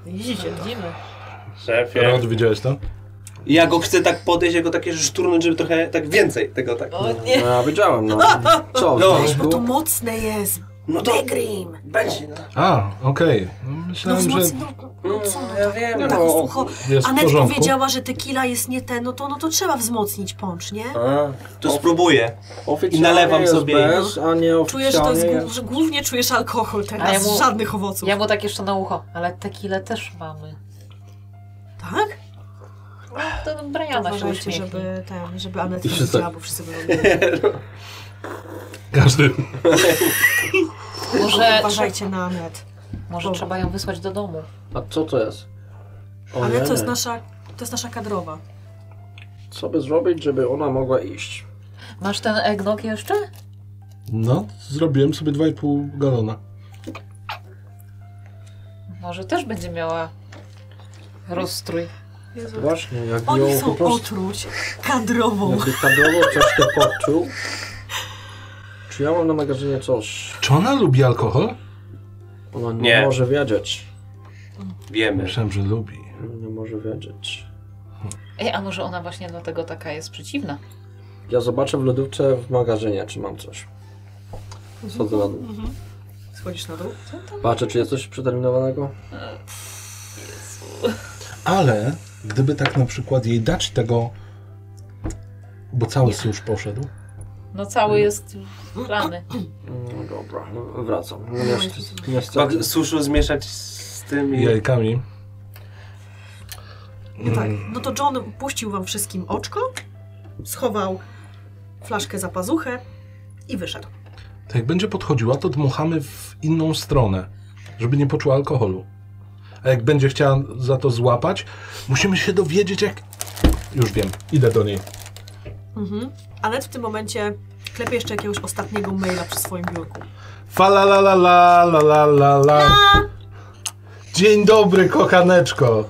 C: Widzicie to?
G: Szefie.
E: Rod, widziałeś to?
G: Ja go chcę tak podejść, ja go takie szturnąć, żeby trochę tak więcej tego tak.
F: O nie.
D: No, ja wiedziałem, no. Co, w
G: No.
D: związku?
C: Bo to mocne jest.
M: No to
C: Degrim!
M: będzie, no.
E: A, okej. No,
C: No
E: Myślałem, że...
C: wzmocnij, no, no co,
M: Ja wiem,
C: no, tak
M: no.
C: słucho.
E: jest w
C: Anet
E: porządku.
C: powiedziała, że tequila jest nie ten, no to, no to trzeba wzmocnić pącz, nie?
D: A,
M: To spróbuję.
D: oficjalnie
M: nalewam
D: jest
M: sobie.
D: Bez, a nie
C: Czujesz, że to jest,
D: oficjalnie
C: gó- że głównie czujesz alkohol
F: A
C: teraz,
F: ja mu-
C: żadnych owoców.
F: Ja mu tak jeszcze na ucho, ale tequilę też mamy.
C: Tak?
F: To
C: To
F: Briana się
C: uważajcie,
F: uśmiechnie.
C: żeby, ten, żeby Anet
N: I
C: nie
N: się
C: widziała,
N: tak-
C: bo wszyscy będą...
E: Każdy...
F: Może,
C: Uważajcie na Anet.
F: może trzeba ją wysłać do domu.
N: A co to jest? O
C: Ale
N: nie,
C: to jest
N: nie.
C: nasza, to jest nasza kadrowa.
N: Co by zrobić, żeby ona mogła iść?
F: Masz ten egnok jeszcze?
E: No, zrobiłem sobie 2,5 galona.
F: Może też będzie miała rozstrój.
N: Właśnie, jak
C: Oni
N: ją po
C: chcą
N: prostu...
C: otruć kadrową.
N: Jakby kadrowo coś to poczuł. Czy ja mam na magazynie coś?
E: Czy ona lubi alkohol?
N: Ona nie,
M: Nie.
N: może wiedzieć.
M: Wiemy.
E: Myślałem, że lubi.
N: Nie może wiedzieć.
F: Ej, a może ona właśnie dlatego taka jest przeciwna?
N: Ja zobaczę w lodówce w magazynie, czy mam coś. Schodzę na dół.
C: Mhm. Schodzisz na dół?
N: Patrzę, czy jest coś przeterminowanego.
E: Ale gdyby tak na przykład jej dać tego... Bo cały już poszedł.
F: No cały jest rany.
N: No dobra, wracam. No,
C: No,
N: Nie, nie,
M: Trzeba suszu zmieszać z tym i...
E: Jajkami.
C: No tak.
N: Mm.
C: No to John puścił wam wszystkim oczko, schował flaszkę za pazuchę i wyszedł.
E: To jak będzie podchodziła, to dmuchamy w inną stronę, żeby nie poczuła alkoholu. A jak będzie chciała za to złapać, musimy się dowiedzieć, jak. Już wiem, idę do niej.
C: Mhm. Anet w tym momencie klepie jeszcze jakiegoś ostatniego maila przy swoim biurku.
E: Fa la la la la la la la la. Dzień dobry, kochaneczko.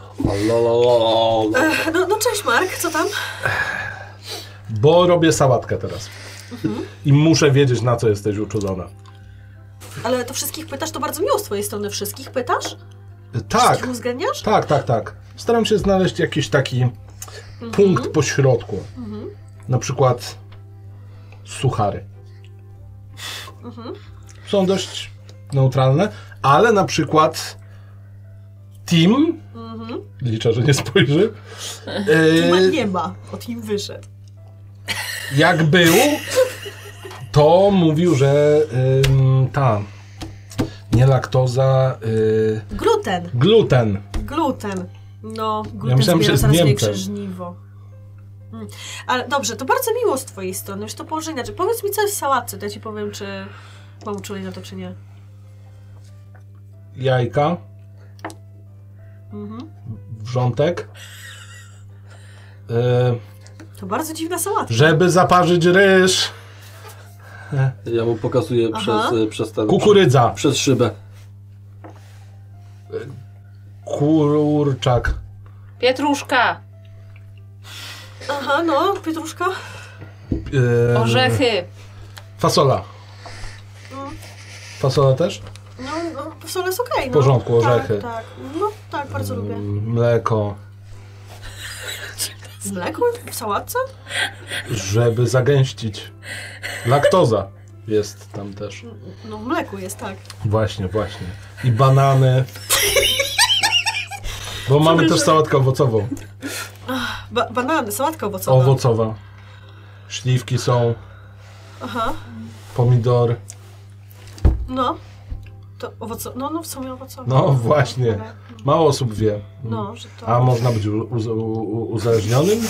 C: Ech, no, no cześć Mark, co tam?
E: Bo robię sałatkę teraz. I muszę wiedzieć, na co jesteś uczulona.
C: Ale to wszystkich pytasz, to bardzo miło z twojej strony wszystkich pytasz?
E: Tak,
C: Wszystkich uwzględniasz?
E: tak, tak, tak. Staram się znaleźć jakiś taki punkt
C: Mhm.
E: pośrodku. Na przykład suchary.
C: Mhm.
E: są dość neutralne, ale na przykład Tim,
C: Mhm.
E: liczę, że nie spojrzy,
C: Teama
N: Y-
E: e,
C: nie ma, od nim wyszedł.
E: jak był, to mówił, że ym, ta nie laktoza, y,
C: Gluten,
E: gluten.
C: gluten. No, gluten
E: myślałem,
C: zbiera
E: że jest
C: coraz
E: Niemcem.
C: większe żniwo. Mm. Ale dobrze, to bardzo miło z twojej strony, już to położę inaczej. Powiedz mi, co jest w sałatce, to ja ci powiem, czy mam uczulenie na to, czy nie.
E: Jajka,
C: Mhm.
E: wrzątek. Y,
C: To bardzo dziwna sałatka.
E: żeby zaparzyć ryż,
N: Ja mu pokazuję
C: Aha.
N: przez, y, przez ten...
E: kukurydza,
N: Przez szybę.
E: kurczak,
F: Pietruszka,
C: Aha, no, pietruszka.
E: y,
F: orzechy.
E: fasola. Fasola też?
C: No, no w sole jest okej, no.
E: W porządku, orzechy.
C: Tak, tak. No, tak, bardzo lubię.
E: Mleko,
C: Z mleku w sałatce?
E: żeby zagęścić. Laktoza jest tam też.
C: No, w mleku jest, tak.
E: Właśnie, właśnie. I banany. Bo mamy też sałatkę owocową.
C: Ba banany, sałatka owocowa.
E: Owocowa. Śliwki są,
C: Aha,
E: pomidor.
C: no. To owoco... No, no, w sumie owocowa.
E: No właśnie. Mało osób wie.
C: No, że to...
E: A można być u- uz- u- uzależnionym?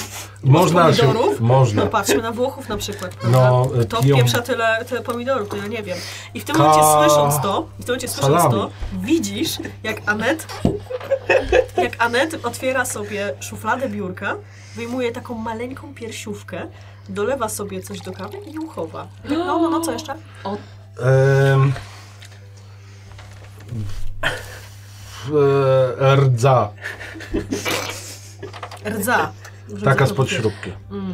E: Można się.
C: pomidorów? No
E: Można.
C: patrzmy na Włochów na przykład.
E: No,
C: prawda? Kto
E: piją-
C: pieprza tyle, tyle pomidorów, to ja nie wiem. I w tym momencie
E: Ka-
C: słysząc to, i w tym momencie słysząc
E: salami.
C: to, widzisz, jak Anet, jak Anet otwiera sobie szufladę biurka, wyjmuje taką maleńką piersiówkę, dolewa sobie coś do kawy i ją chowa. No, no, no, co jeszcze?
E: Em, w- e, rdza.
C: Rdza. Dobrze,
E: Taka
C: że to
E: spod
C: mówię.
E: śrubki.
C: Mm.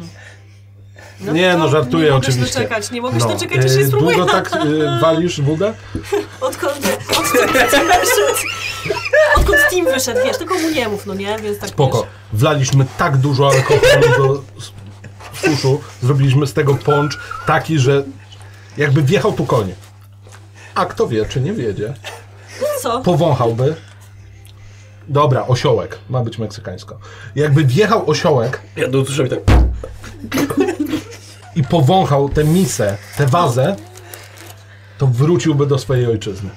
E: Nie,
C: to
E: no, żartuję
C: nie mogę się
E: oczywiście.
C: Doczekać, nie mogę się
E: No,
C: doczekać, aż
E: y,
C: się spróbuję.
E: Długo tak y, walisz budę?
C: Odkąd, odkąd Tim wyszedł. Odkąd Tim wyszedł, wiesz, tylko mu nie mów, no nie? Więc tak
E: Spoko.
C: Wiesz.
E: Wlaliśmy tak dużo alkoholu do s- suszu, zrobiliśmy z tego poncz taki, że jakby wjechał tu konie. A kto wie, czy nie wiedzie?
C: Co?
E: Powąchałby. Dobra, osiołek. Ma być meksykańsko. Jakby wjechał osiołek.
D: Ja do usłyszałem tak.
E: I powąchał tę misę, tę wazę, to wróciłby do swojej ojczyzny.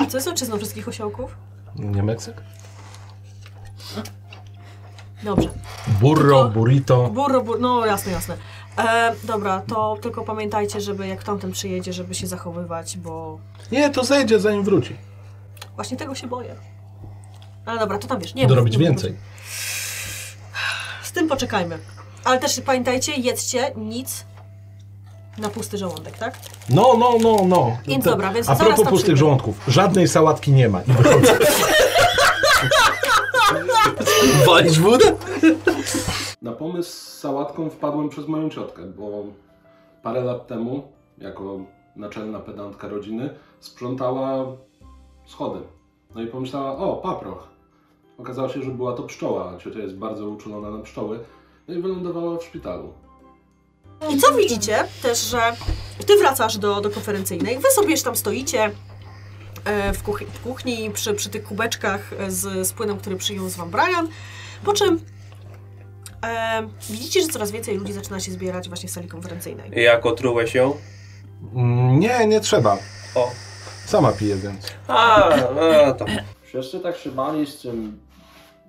C: A co jest ojczyzną wszystkich osiołków?
E: Nie Meksyk?
C: Dobrze.
E: Burro, burrito.
C: Burro, bur... no jasne, jasne. E, dobra, to tylko pamiętajcie, żeby jak tamten przyjedzie, żeby się zachowywać, bo
E: Nie, to zejdzie zanim wróci.
C: właśnie tego się boję. Ale dobra, to tam wiesz, nie
E: Dorobić
C: mów, nie mów.
E: więcej.
C: Z tym poczekajmy. Ale też pamiętajcie, jedzcie nic na pusty żołądek, tak?
E: No, no, no, no.
C: Więc
E: Te-
C: dobra, więc
E: A
C: zaraz
E: propos
C: tam
E: pustych
C: przyjdę.
E: żołądków. Żadnej sałatki nie ma. I wychodzę.
D: Walisz wódę?
O: Na pomysł z sałatką wpadłem przez moją ciotkę, bo parę lat temu, jako naczelna pedantka rodziny, sprzątała schody. No i pomyślała, o, paproch. Okazało się, że była to pszczoła, a ciocia jest bardzo uczulona na pszczoły. No i wylądowała w szpitalu.
C: I co widzicie też, że ty wracasz do, do konferencyjnej, wy sobie już tam stoicie e, w kuchni, w kuchni przy, przy tych kubeczkach z, z płynem, który przyniósł wam Brian, po czym e, widzicie, że coraz więcej ludzi zaczyna się zbierać właśnie w sali konferencyjnej.
G: Jak otrułeś ją?
E: Mm, Nie, nie trzeba.
G: O.
E: Sama pije, więc.
G: A, a to.
I: Wszyscy tak szybali z tym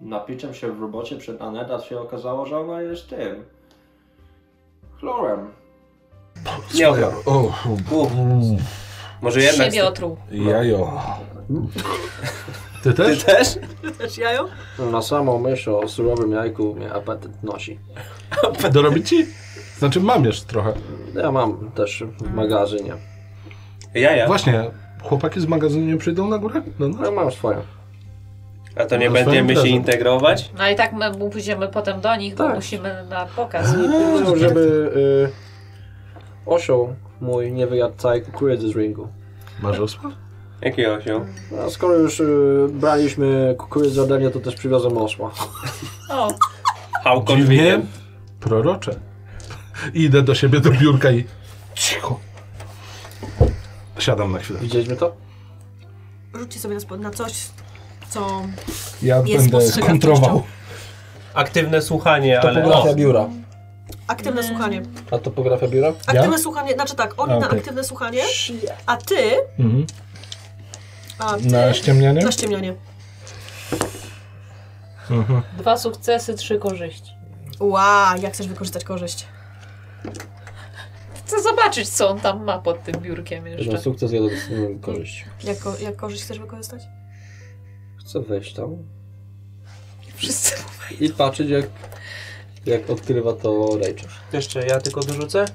I: napiciem się w robocie przed Aneta, się okazało, że ona jest tym. chlorem.
G: Nie obrał.
E: O,
G: Może jednak.
F: Siebie otruł.
E: Jajo. Ty też?
G: Ty też?
C: Też jajo?
D: Na samą myśl o surowym jajku mnie apetyt nosi.
E: Dorobić ci? Znaczy mam jeszcze trochę.
D: Ja mam też w magazynie.
G: Jaja.
E: Właśnie, chłopaki z magazynu nie przyjdą na górę? No, no.
D: Ja mam swoje.
G: A to nie
E: Na swoją
G: będziemy się
E: imprezę.
G: integrować?
F: No i tak my mu pójdziemy potem do nich, bo
D: Tak.
F: musimy na pokaz.
D: Powiedział, żeby y, osioł mój nie wyjadł całej kukurydzy z ringu.
E: Masz osła?
G: Jaki osioł?
D: A skoro już y, braliśmy kukurydzę ode mnie, to też przywiozłem osła.
F: O,
G: How
E: Dziwnie
G: convenient.
E: prorocze. I Idę do siebie do biurka i cicho. Siadam na chwilę.
D: Widzieliśmy to?
C: Rzućcie sobie na, spo- na coś, co...
E: Ja
C: Jest
E: będę
C: spostrzegawczością.
E: kontrował.
G: Aktywne słuchanie, ale.
D: Topografia biura.
C: Aktywne słuchanie.
D: A topografia biura?
C: Aktywne słuchanie, znaczy tak, oni
E: A,
C: na
E: okej.
C: aktywne słuchanie, a ty...
E: Mhm.
C: A ty
E: Na ściemnianie?
C: na ściemnianie.
E: Mhm.
F: dwa sukcesy, trzy korzyści.
C: Ła, jak chcesz wykorzystać korzyść?
F: Chcę zobaczyć, co on tam ma pod tym biurkiem
D: Jeden
F: jeszcze.
D: sukces, jeden korzyść.
C: Jak, ko- jak korzyść chcesz wykorzystać?
D: Chcę wejść tam
F: Wszyscy
D: i patrzeć jak, jak odkrywa to Rachel.
P: Jeszcze ja tylko dorzucę.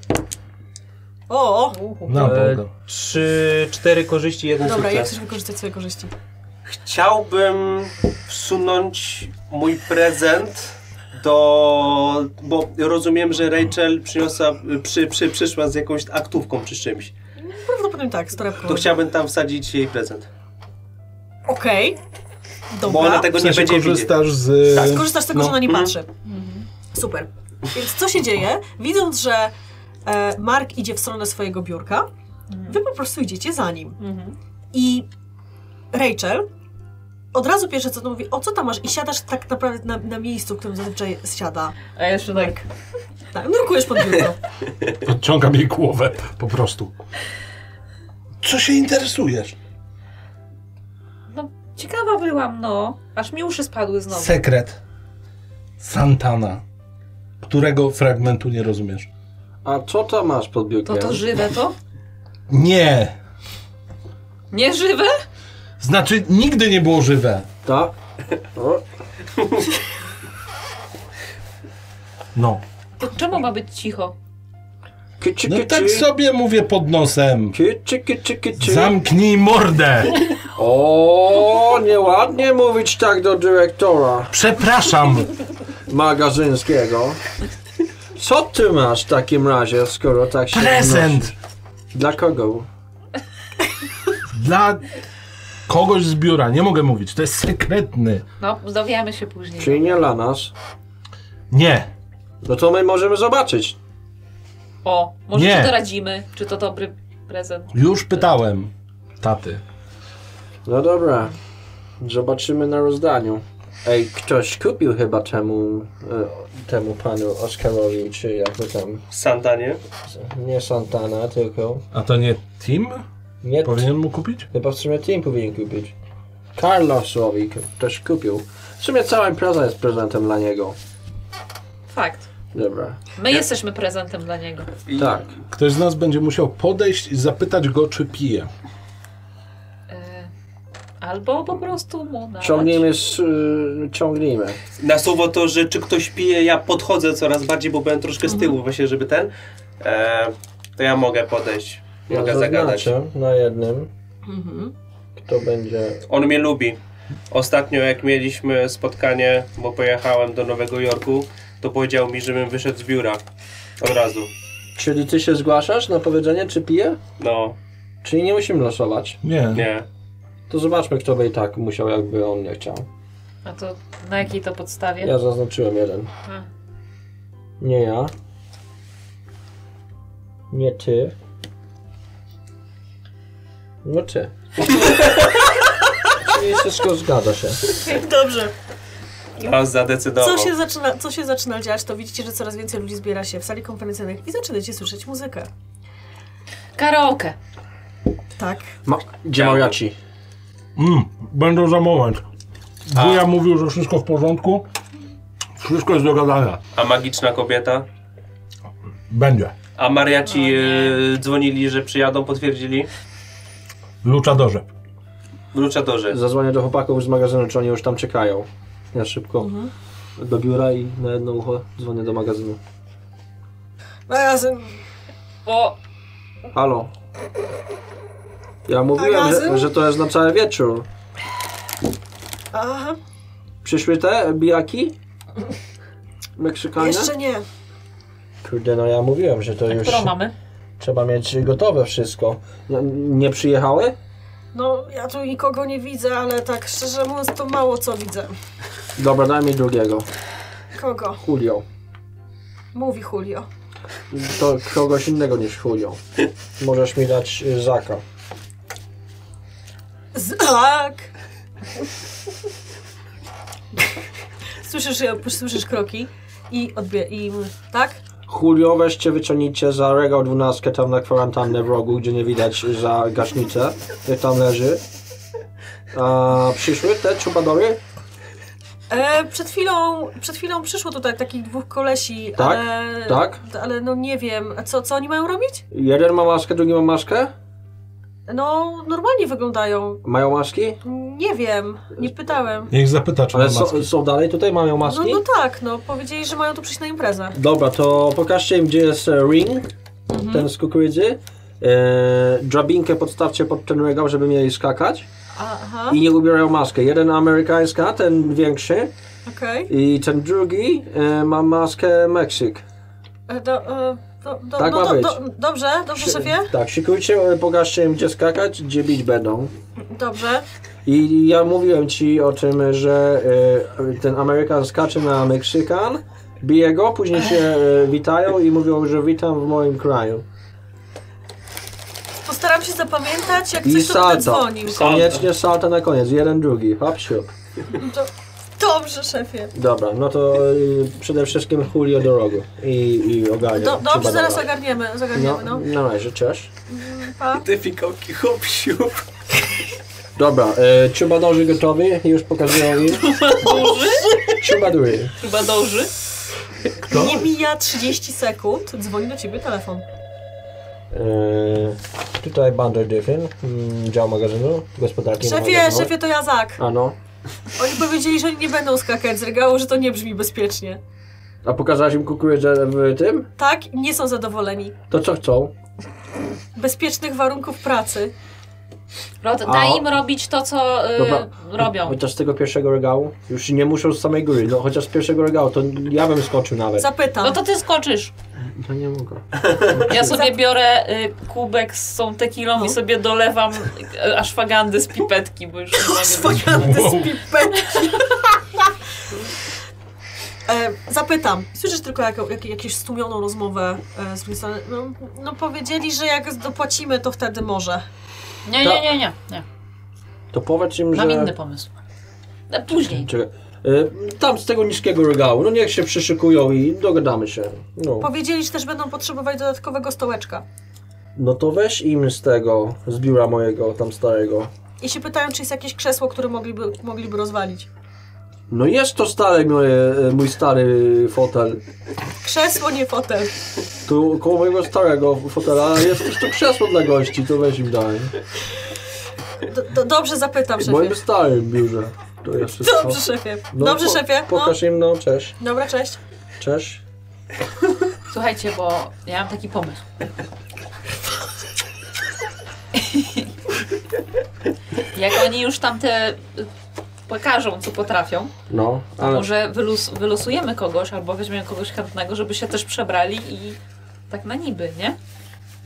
C: O, o.
E: Na
P: E,
E: Boga.
P: Trzy, cztery korzyści, jeden
C: Dobra, jak
P: sukces.
C: chcesz wykorzystać swoje korzyści?
G: Chciałbym wsunąć mój prezent do. Bo rozumiem, że Rachel przyniosła, przy, przy, przyszła z jakąś aktówką czy czymś.
C: Prawdopodobnie tak, z torebką.
G: To chciałbym tam wsadzić jej prezent.
C: Okej. Dobra.
G: Bo ona tego
E: W
G: nie
E: sensie
G: będzie widzieć.
E: korzystasz z...
G: Tak.
C: Korzystasz z tego,
E: No.
C: że na nie
G: Mhm.
C: patrzy. Super. Więc co się dzieje? Widząc, że e, Mark idzie w stronę swojego biurka, wy po prostu idziecie za nim.
F: Mhm.
C: I Rachel od razu pierwsze co to mówi, o co tam masz? I siadasz tak naprawdę na, na miejscu, w którym zazwyczaj siada.
F: A jeszcze tak.
C: Tak, nurkujesz pod biurko.
E: Odciągam jej głowę, po prostu. Co się interesujesz?
F: No, ciekawa byłam, no. Aż mi uszy spadły znowu.
E: Sekret Santana, którego fragmentu nie rozumiesz.
D: A co tam masz pod
F: To
D: biurkiem?
F: to żywe to?
E: Nie!
F: Nie żywe?
E: Znaczy, nigdy nie było żywe.
D: Ta? O,
E: No.
F: To czemu ma być cicho?
D: Kici,
E: No
D: kici.
E: tak sobie mówię pod nosem.
D: Kici, kici, kici.
E: Zamknij mordę!
D: O, nieładnie mówić tak do dyrektora
E: Przepraszam!
D: magazynskiego. Co ty masz w takim razie, skoro tak się
E: Prezent!
D: odnosisz? Dla kogo?
E: Dla kogoś z biura, nie mogę mówić, to jest sekretny.
F: No, dowiemy się później.
D: Czyli nie dla nas.
E: Nie,
D: No to my możemy zobaczyć.
F: O, może
E: Nie.
F: się doradzimy, czy to dobry prezent.
E: Już pytałem taty.
D: No dobra, zobaczymy na rozdaniu. Ej, ktoś kupił chyba temu, e, temu panu Oscarowi, czy jak to tam...
M: Santanie?
D: Nie Santana, tylko...
E: A to nie Tim?
D: Nie
E: Powinien mu kupić?
D: Chyba w sumie Tim powinien kupić. Karlosowi k- ktoś kupił. W sumie cały prezent jest prezentem dla niego.
F: Fakt.
D: Dobra.
F: My jesteśmy prezentem dla niego.
D: Tak.
E: Ktoś z nas będzie musiał podejść i zapytać go, czy pije.
F: Albo po prostu mu na.
D: Ciągniemy, z, y, ciągnijmy.
M: Na słowo to, że czy ktoś pije, ja podchodzę coraz bardziej, bo byłem troszkę z tyłu właśnie, żeby ten. E, to ja mogę podejść,
C: No
D: Ja
M: mogę zagadać.
C: znaczy.
D: zaznaczę na jednym,
C: Mhm.
D: kto będzie...
M: On mnie lubi. Ostatnio jak mieliśmy spotkanie, bo pojechałem do Nowego Jorku, to powiedział mi, żebym wyszedł z biura. Od razu.
D: Czyli ty się zgłaszasz na powiedzenie, czy pije?
M: No.
D: Czyli nie musimy losować?
E: Nie.
M: Nie.
D: To zobaczmy, kto by i tak musiał, jakby on nie chciał.
F: A to na jakiej to podstawie?
D: Ja zaznaczyłem jeden.
F: A.
D: Nie ja. Nie ty. No ty. Czyli wszystko zgadza się.
C: Dobrze.
M: A zadecydował.
C: Co się, zaczyna, co się zaczyna dziać, to widzicie, że coraz więcej ludzi zbiera się w sali konferencyjnej i zaczynacie słyszeć muzykę.
F: Karaoke.
C: Tak.
D: Ma, gdzie mariachi?
E: Mm, będą za moment. Wuja mówił, że wszystko w porządku. Wszystko jest dogadane.
M: A magiczna kobieta?
E: Będzie.
M: A
C: No
M: mariaci e, dzwonili, że przyjadą, potwierdzili?
E: Luczadorze.
M: Wrócę do rzeczy.
D: Zadzwonię do chłopaków z magazynu, czy oni już tam czekają. Ja szybko do biura i na jedno ucho dzwonię do magazynu.
C: No Magazyn.
F: Bo
D: Halo. Ja mówiłem,
C: Magazyn?
D: że, że to jest na cały wieczór.
C: Aha,
D: Przyszły te bijaki? Meksykanie?
C: jeszcze nie.
D: Kurde, no ja mówiłem, że to już...
F: którą mamy?
D: Trzeba mieć gotowe wszystko. No, Nie przyjechały?
C: No, ja tu nikogo nie widzę, ale tak szczerze mówiąc, to mało co widzę.
D: Dobra, daj mi drugiego.
C: Kogo?
D: Julio.
C: Mówi Julio.
D: To kogoś innego niż Julio. Możesz mi dać y, Zaka.
C: Zak! słyszysz, słyszysz kroki i odbie... i... tak?
D: Julio, weźcie, wyciągnijcie za regał 12 tam na kwarantannę w rogu, gdzie nie widać za gaśnicę, jak tam leży. A przyszły te czubadory?
C: E, przed, chwilą, przed chwilą przyszło tutaj takich dwóch kolesi,
D: Tak,
C: ale...
D: tak.
C: Ale no nie wiem, a co, co oni mają robić?
D: Jeden ma maskę, drugi ma maskę?
C: No, normalnie wyglądają.
D: Mają maski?
C: Nie wiem, nie pytałem.
E: Niech zapyta, czy
D: Ale
E: ma maski.
D: są, są dalej tutaj, mają
C: No,
D: maski?
C: no tak, no, powiedzieli, że mają tu przyjść na imprezę.
D: Dobra, to pokażcie im, gdzie jest e, ring, ten z kukurydzy. E, drabinkę podstawcie pod ten regał, żeby mieli skakać.
C: Aha,
D: I nie ubierają maskę. Jeden amerykańska, ten większy.
C: okej.
D: I ten drugi e, ma maskę Meksyk.
C: E, Do, e, do, do,
D: Tak
C: no,
D: ma
C: do,
D: być.
C: do, dobrze, dobrze szefie?
D: Tak, szykujcie, e, pokażcie im, gdzie skakać, gdzie bić będą.
C: Dobrze.
D: I ja mówiłem ci o tym, że e, ten Amerykan skacze na Meksykan, bije go, później się e, witają i mówią, że witam w moim kraju.
C: Postaram się zapamiętać, jak
D: I
C: coś to będę
D: salta.
C: dzwonił.
D: Koniecznie salta na koniec. Jeden, drugi. Hop, siup.
C: Do, dobrze, szefie.
D: Dobra, no to y, przede wszystkim Julio do rogu i, i ogarnia.
C: Do, dobrze,
D: Trzeba
C: zaraz
D: dawać.
C: ogarniemy, zagarniemy, no.
D: No, na razie, cześć.
C: Pa.
M: Te fikołki, hop, siup.
D: Dobra, y, ciubadorzy gotowi, już pokazują im. Ciubadury.
F: Chyba dąży.
C: Nie mija 30 sekund, dzwoni do ciebie telefon.
D: Y, tutaj Bandar Dyfin, mm, dział magazynu, gospodarki
C: Szefie,
D: magazynowej.
C: szefie, to ja Zak.
D: A no,
C: Oni powiedzieli, że oni nie będą skakać z regału, że to nie brzmi bezpiecznie.
D: a pokazałeś im kukurydzę w tym?
C: Tak, nie są zadowoleni.
D: To co chcą?
C: Bezpiecznych warunków pracy.
F: Ro-
D: A-
F: Daj im robić to, co y,
D: Dobra.
F: robią.
D: Chociaż z tego pierwszego regału? Już nie muszą z samej góry, no chociaż z pierwszego regału, to ja bym skoczył nawet.
C: Zapytam.
F: No to ty skoczysz.
D: No nie mogę.
F: Ja sobie biorę y, kubek z tą tequilą
D: No.
F: i sobie dolewam y, aszwagandy z pipetki, bo już nie mogę.
C: Swojanty z pipetki. E, zapytam. Słyszysz tylko jak, jak, jakąś stłumioną rozmowę e, z drugiej strony. No, no powiedzieli, że jak dopłacimy, to wtedy może.
F: Nie, nie, nie, nie. nie.
D: To powiedz im, że...
F: Mam inny pomysł. No, później.
D: Czekaj. Y, Tam z tego niskiego regału, no niech się przyszykują i dogadamy się. No,
C: Powiedzieli, że też będą potrzebować dodatkowego stołeczka.
D: no to weź im z tego, z biura mojego tam starego.
C: I się pytają, czy jest jakieś krzesło, które mogliby, mogliby rozwalić.
D: No jest to stare moje, e, mój stary fotel.
C: Krzesło, nie fotel.
D: Tu koło mojego starego fotela jest też to krzesło dla gości, to weź im daj.
C: Do, do, dobrze zapytam,
D: W
C: szefie.
D: moim starym biurze. To jest wszystko.
C: Dobrze, szefie.
D: No,
C: Dobrze,
D: po-
C: szefie. No.
D: Pokaż im, no cześć.
C: Dobra, cześć.
D: Cześć.
F: Słuchajcie, bo ja mam taki pomysł. Jak oni już tam te y, pokażą, co potrafią,
D: No,
F: to może wylus wylosujemy kogoś albo weźmiemy kogoś chętnego, żeby się też przebrali i tak na niby, nie?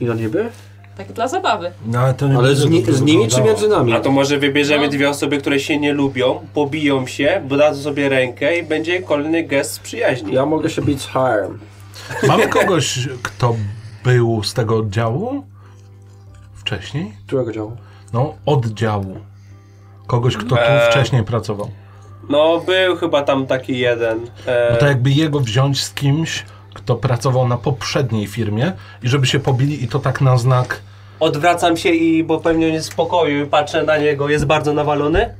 D: I na niby?
F: Tak dla zabawy.
E: No, ale to nie
D: Ale z,
E: będzie
D: ni-
E: dobrze
D: z nimi czy
E: wyglądało.
D: między nami?
G: A to może wybierzemy dwie osoby, które się nie lubią, pobiją się, dadzą sobie rękę i będzie kolejny gest przyjaźni.
D: Ja mogę się bić harem.
E: Mamy kogoś, kto był z tego oddziału? Wcześniej?
D: Którego działu?
E: No, oddziału. Kogoś, kto tu
G: Eee.
E: wcześniej pracował.
G: No, był chyba tam taki jeden. E,
E: No to jakby jego wziąć z kimś, kto pracował na poprzedniej firmie i żeby się pobili i to tak na znak
G: Odwracam się i bo pewnie on jest w pokoju i patrzę na niego, jest bardzo nawalony.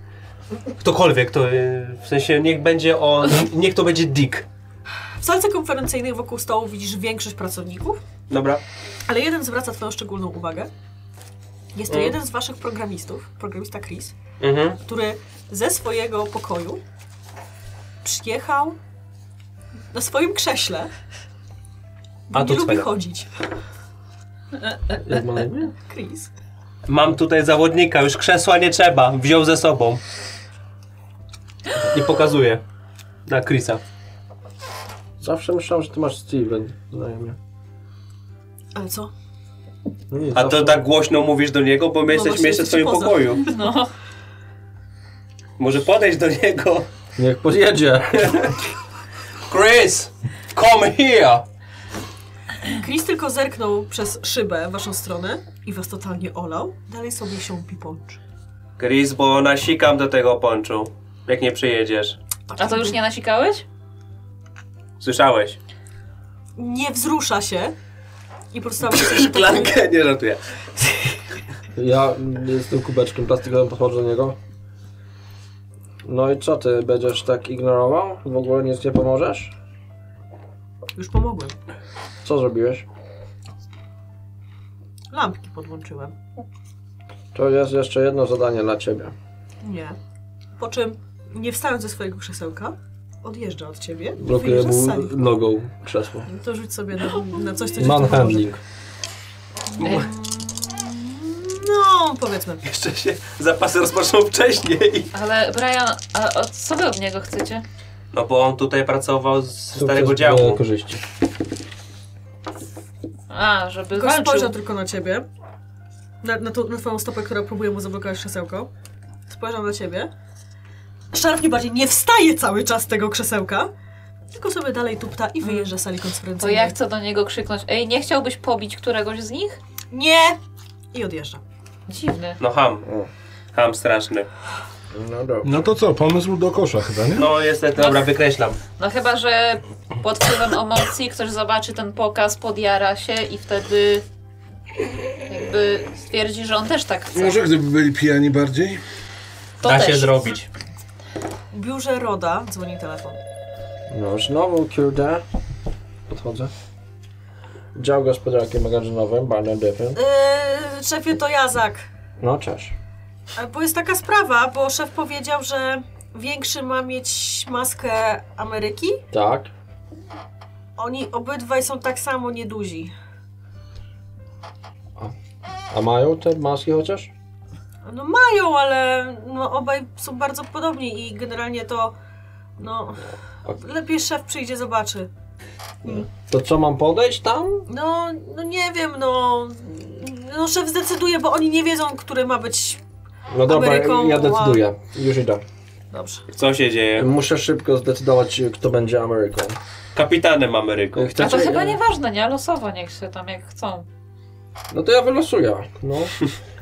G: Ktokolwiek to, e, w sensie niech będzie on, niech to będzie Dick.
C: W salce konferencyjnej wokół stołu widzisz większość pracowników,
G: Dobra.
C: ale jeden zwraca Twoją szczególną uwagę. Jest to
G: Mm.
C: jeden z Waszych programistów, programista Chris,
G: Mhm.
C: który ze swojego pokoju przyjechał na swoim krześle. Bo
G: A
C: nie
G: to
C: lubi
G: cwela.
C: chodzić.
E: E,
D: Jak ma na imię?
C: Chris.
G: Mam tutaj zawodnika, już krzesła nie trzeba, wziął ze sobą. I pokazuje na Chrisa.
D: Zawsze myślałem, że ty masz Steven na imię.
C: Ale co?
D: No nie,
G: A
D: zawsze-
G: to tak głośno mówisz do niego, bo my jesteśmy
C: właśnie,
G: jeszcze w swoim
C: jesteście
G: pokoju.
C: poza.
F: No.
G: Może podejść do niego.
D: Niech podjedzie.
G: Chris, come here!
C: Chris tylko zerknął przez szybę w Waszą stronę i Was totalnie olał. Dalej sobie się pipączy.
G: Chris, bo nasikam do tego ponczu, jak nie przyjedziesz.
F: A to już nie nasikałeś?
G: Słyszałeś?
C: Nie wzrusza się i po prostu tam się
G: Szklankę, nie żartuję.
D: Ja z tym kubeczkiem plastikowym podchodzę do niego. No i co ty, będziesz tak ignorował? W ogóle nic nie pomożesz?
C: Już pomogłem.
D: Co zrobiłeś?
C: Lampki podłączyłem.
D: To jest jeszcze jedno zadanie dla ciebie.
C: Nie. Po czym, nie wstając ze swojego krzesełka, odjeżdża od ciebie i
D: Blokuję
C: wyjeżdża z
D: mu
C: sali.
D: nogą krzesło.
C: No To rzuć sobie na, na coś, co ci
D: Manhandling.
F: E,
C: No, powiedzmy.
G: Jeszcze się zapasy rozpoczną wcześniej.
F: ale Brian, a, a co wy od niego chcecie?
G: No bo on tutaj pracował z starego
D: Sukces dla
G: działu.
D: korzyści.
F: A, żeby
C: Tylko spojrzał
F: walczył.
C: tylko na ciebie. Na, na, tą, na twoją stopę, która próbuje mu zablokować krzesełko. Spojrzał na ciebie. Szarf nie bardziej nie wstaje cały czas z tego krzesełka, tylko sobie dalej tupta i wyjeżdża z sali
F: Mhm. To
C: konferencyjnej.
F: ja chcę do niego krzyknąć, ej, nie chciałbyś pobić któregoś z nich?
C: Nie! I odjeżdża.
F: Dziwne.
G: No ham. Ham straszny.
D: No dobra.
E: No to co, pomysł do kosza chyba, nie?
G: No niestety, dobra, wykreślam.
F: No chyba, że pod wpływem emocji ktoś zobaczy ten pokaz, podjara się i wtedy jakby stwierdzi, że on też tak chce.
E: Może gdyby byli pijani bardziej?
F: To
G: Da
F: też.
G: się zrobić.
C: W biurze Roda dzwoni telefon.
D: No znowu kurde. Podchodzę. Dział gospodarki magazynowej, Barney Diffin.
C: Yy, szefie, to Jazak.
D: No cześć.
C: E, Bo jest taka sprawa, bo szef powiedział, że większy ma mieć maskę Ameryki.
D: Tak.
C: Oni obydwaj są tak samo nieduzi.
D: A mają te maski chociaż?
C: No mają, ale no, obaj są bardzo podobni i generalnie to no lepiej szef przyjdzie, zobaczy.
D: To co mam podejść tam?
C: No, no nie wiem, no no szef zdecyduje, bo oni nie wiedzą, który ma być
D: No dobra,
C: Ameryką,
D: ja
C: wow.
D: decyduję. Już idę.
C: Dobrze.
M: Co się dzieje?
D: Muszę szybko zdecydować, kto będzie Ameryką.
M: Kapitanem Ameryką.
F: A to chyba nieważne, nie? Losowo niech się tam jak chcą.
D: No to ja wylosuję. No.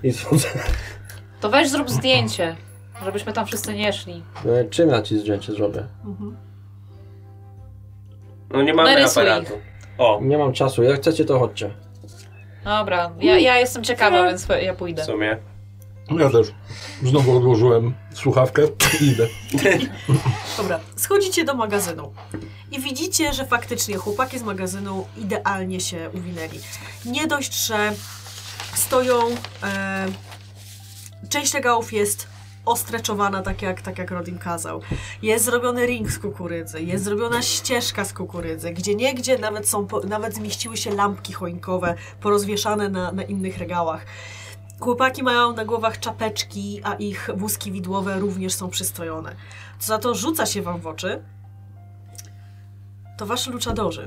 D: I sądzę.
F: To weź zrób zdjęcie, żebyśmy tam wszyscy nie szli.
D: E, Czym ja ci zdjęcie zrobię?
C: Mhm.
M: No nie mamy
F: Narysuj
M: aparatu. O.
D: Nie mam czasu. Jak chcecie, to chodźcie.
F: Dobra, ja, ja jestem ciekawa, więc ja pójdę.
M: sumie.
E: Ja też. Znowu odłożyłem słuchawkę i idę.
C: Dobra, schodzicie do magazynu i widzicie, że faktycznie chłopaki z magazynu idealnie się uwinęli. Nie dość, że stoją. E, część regałów jest ostreczowana tak jak, tak jak Rodin kazał. Jest zrobiony ring z kukurydzy, jest zrobiona ścieżka z kukurydzy, gdzie niegdzie nawet, są, po- nawet zmieściły się lampki choinkowe porozwieszane na, na innych regałach. Chłopaki mają na głowach czapeczki, a ich wózki widłowe również są przystrojone. Co za to rzuca się wam w oczy, to wasz luczadorzy.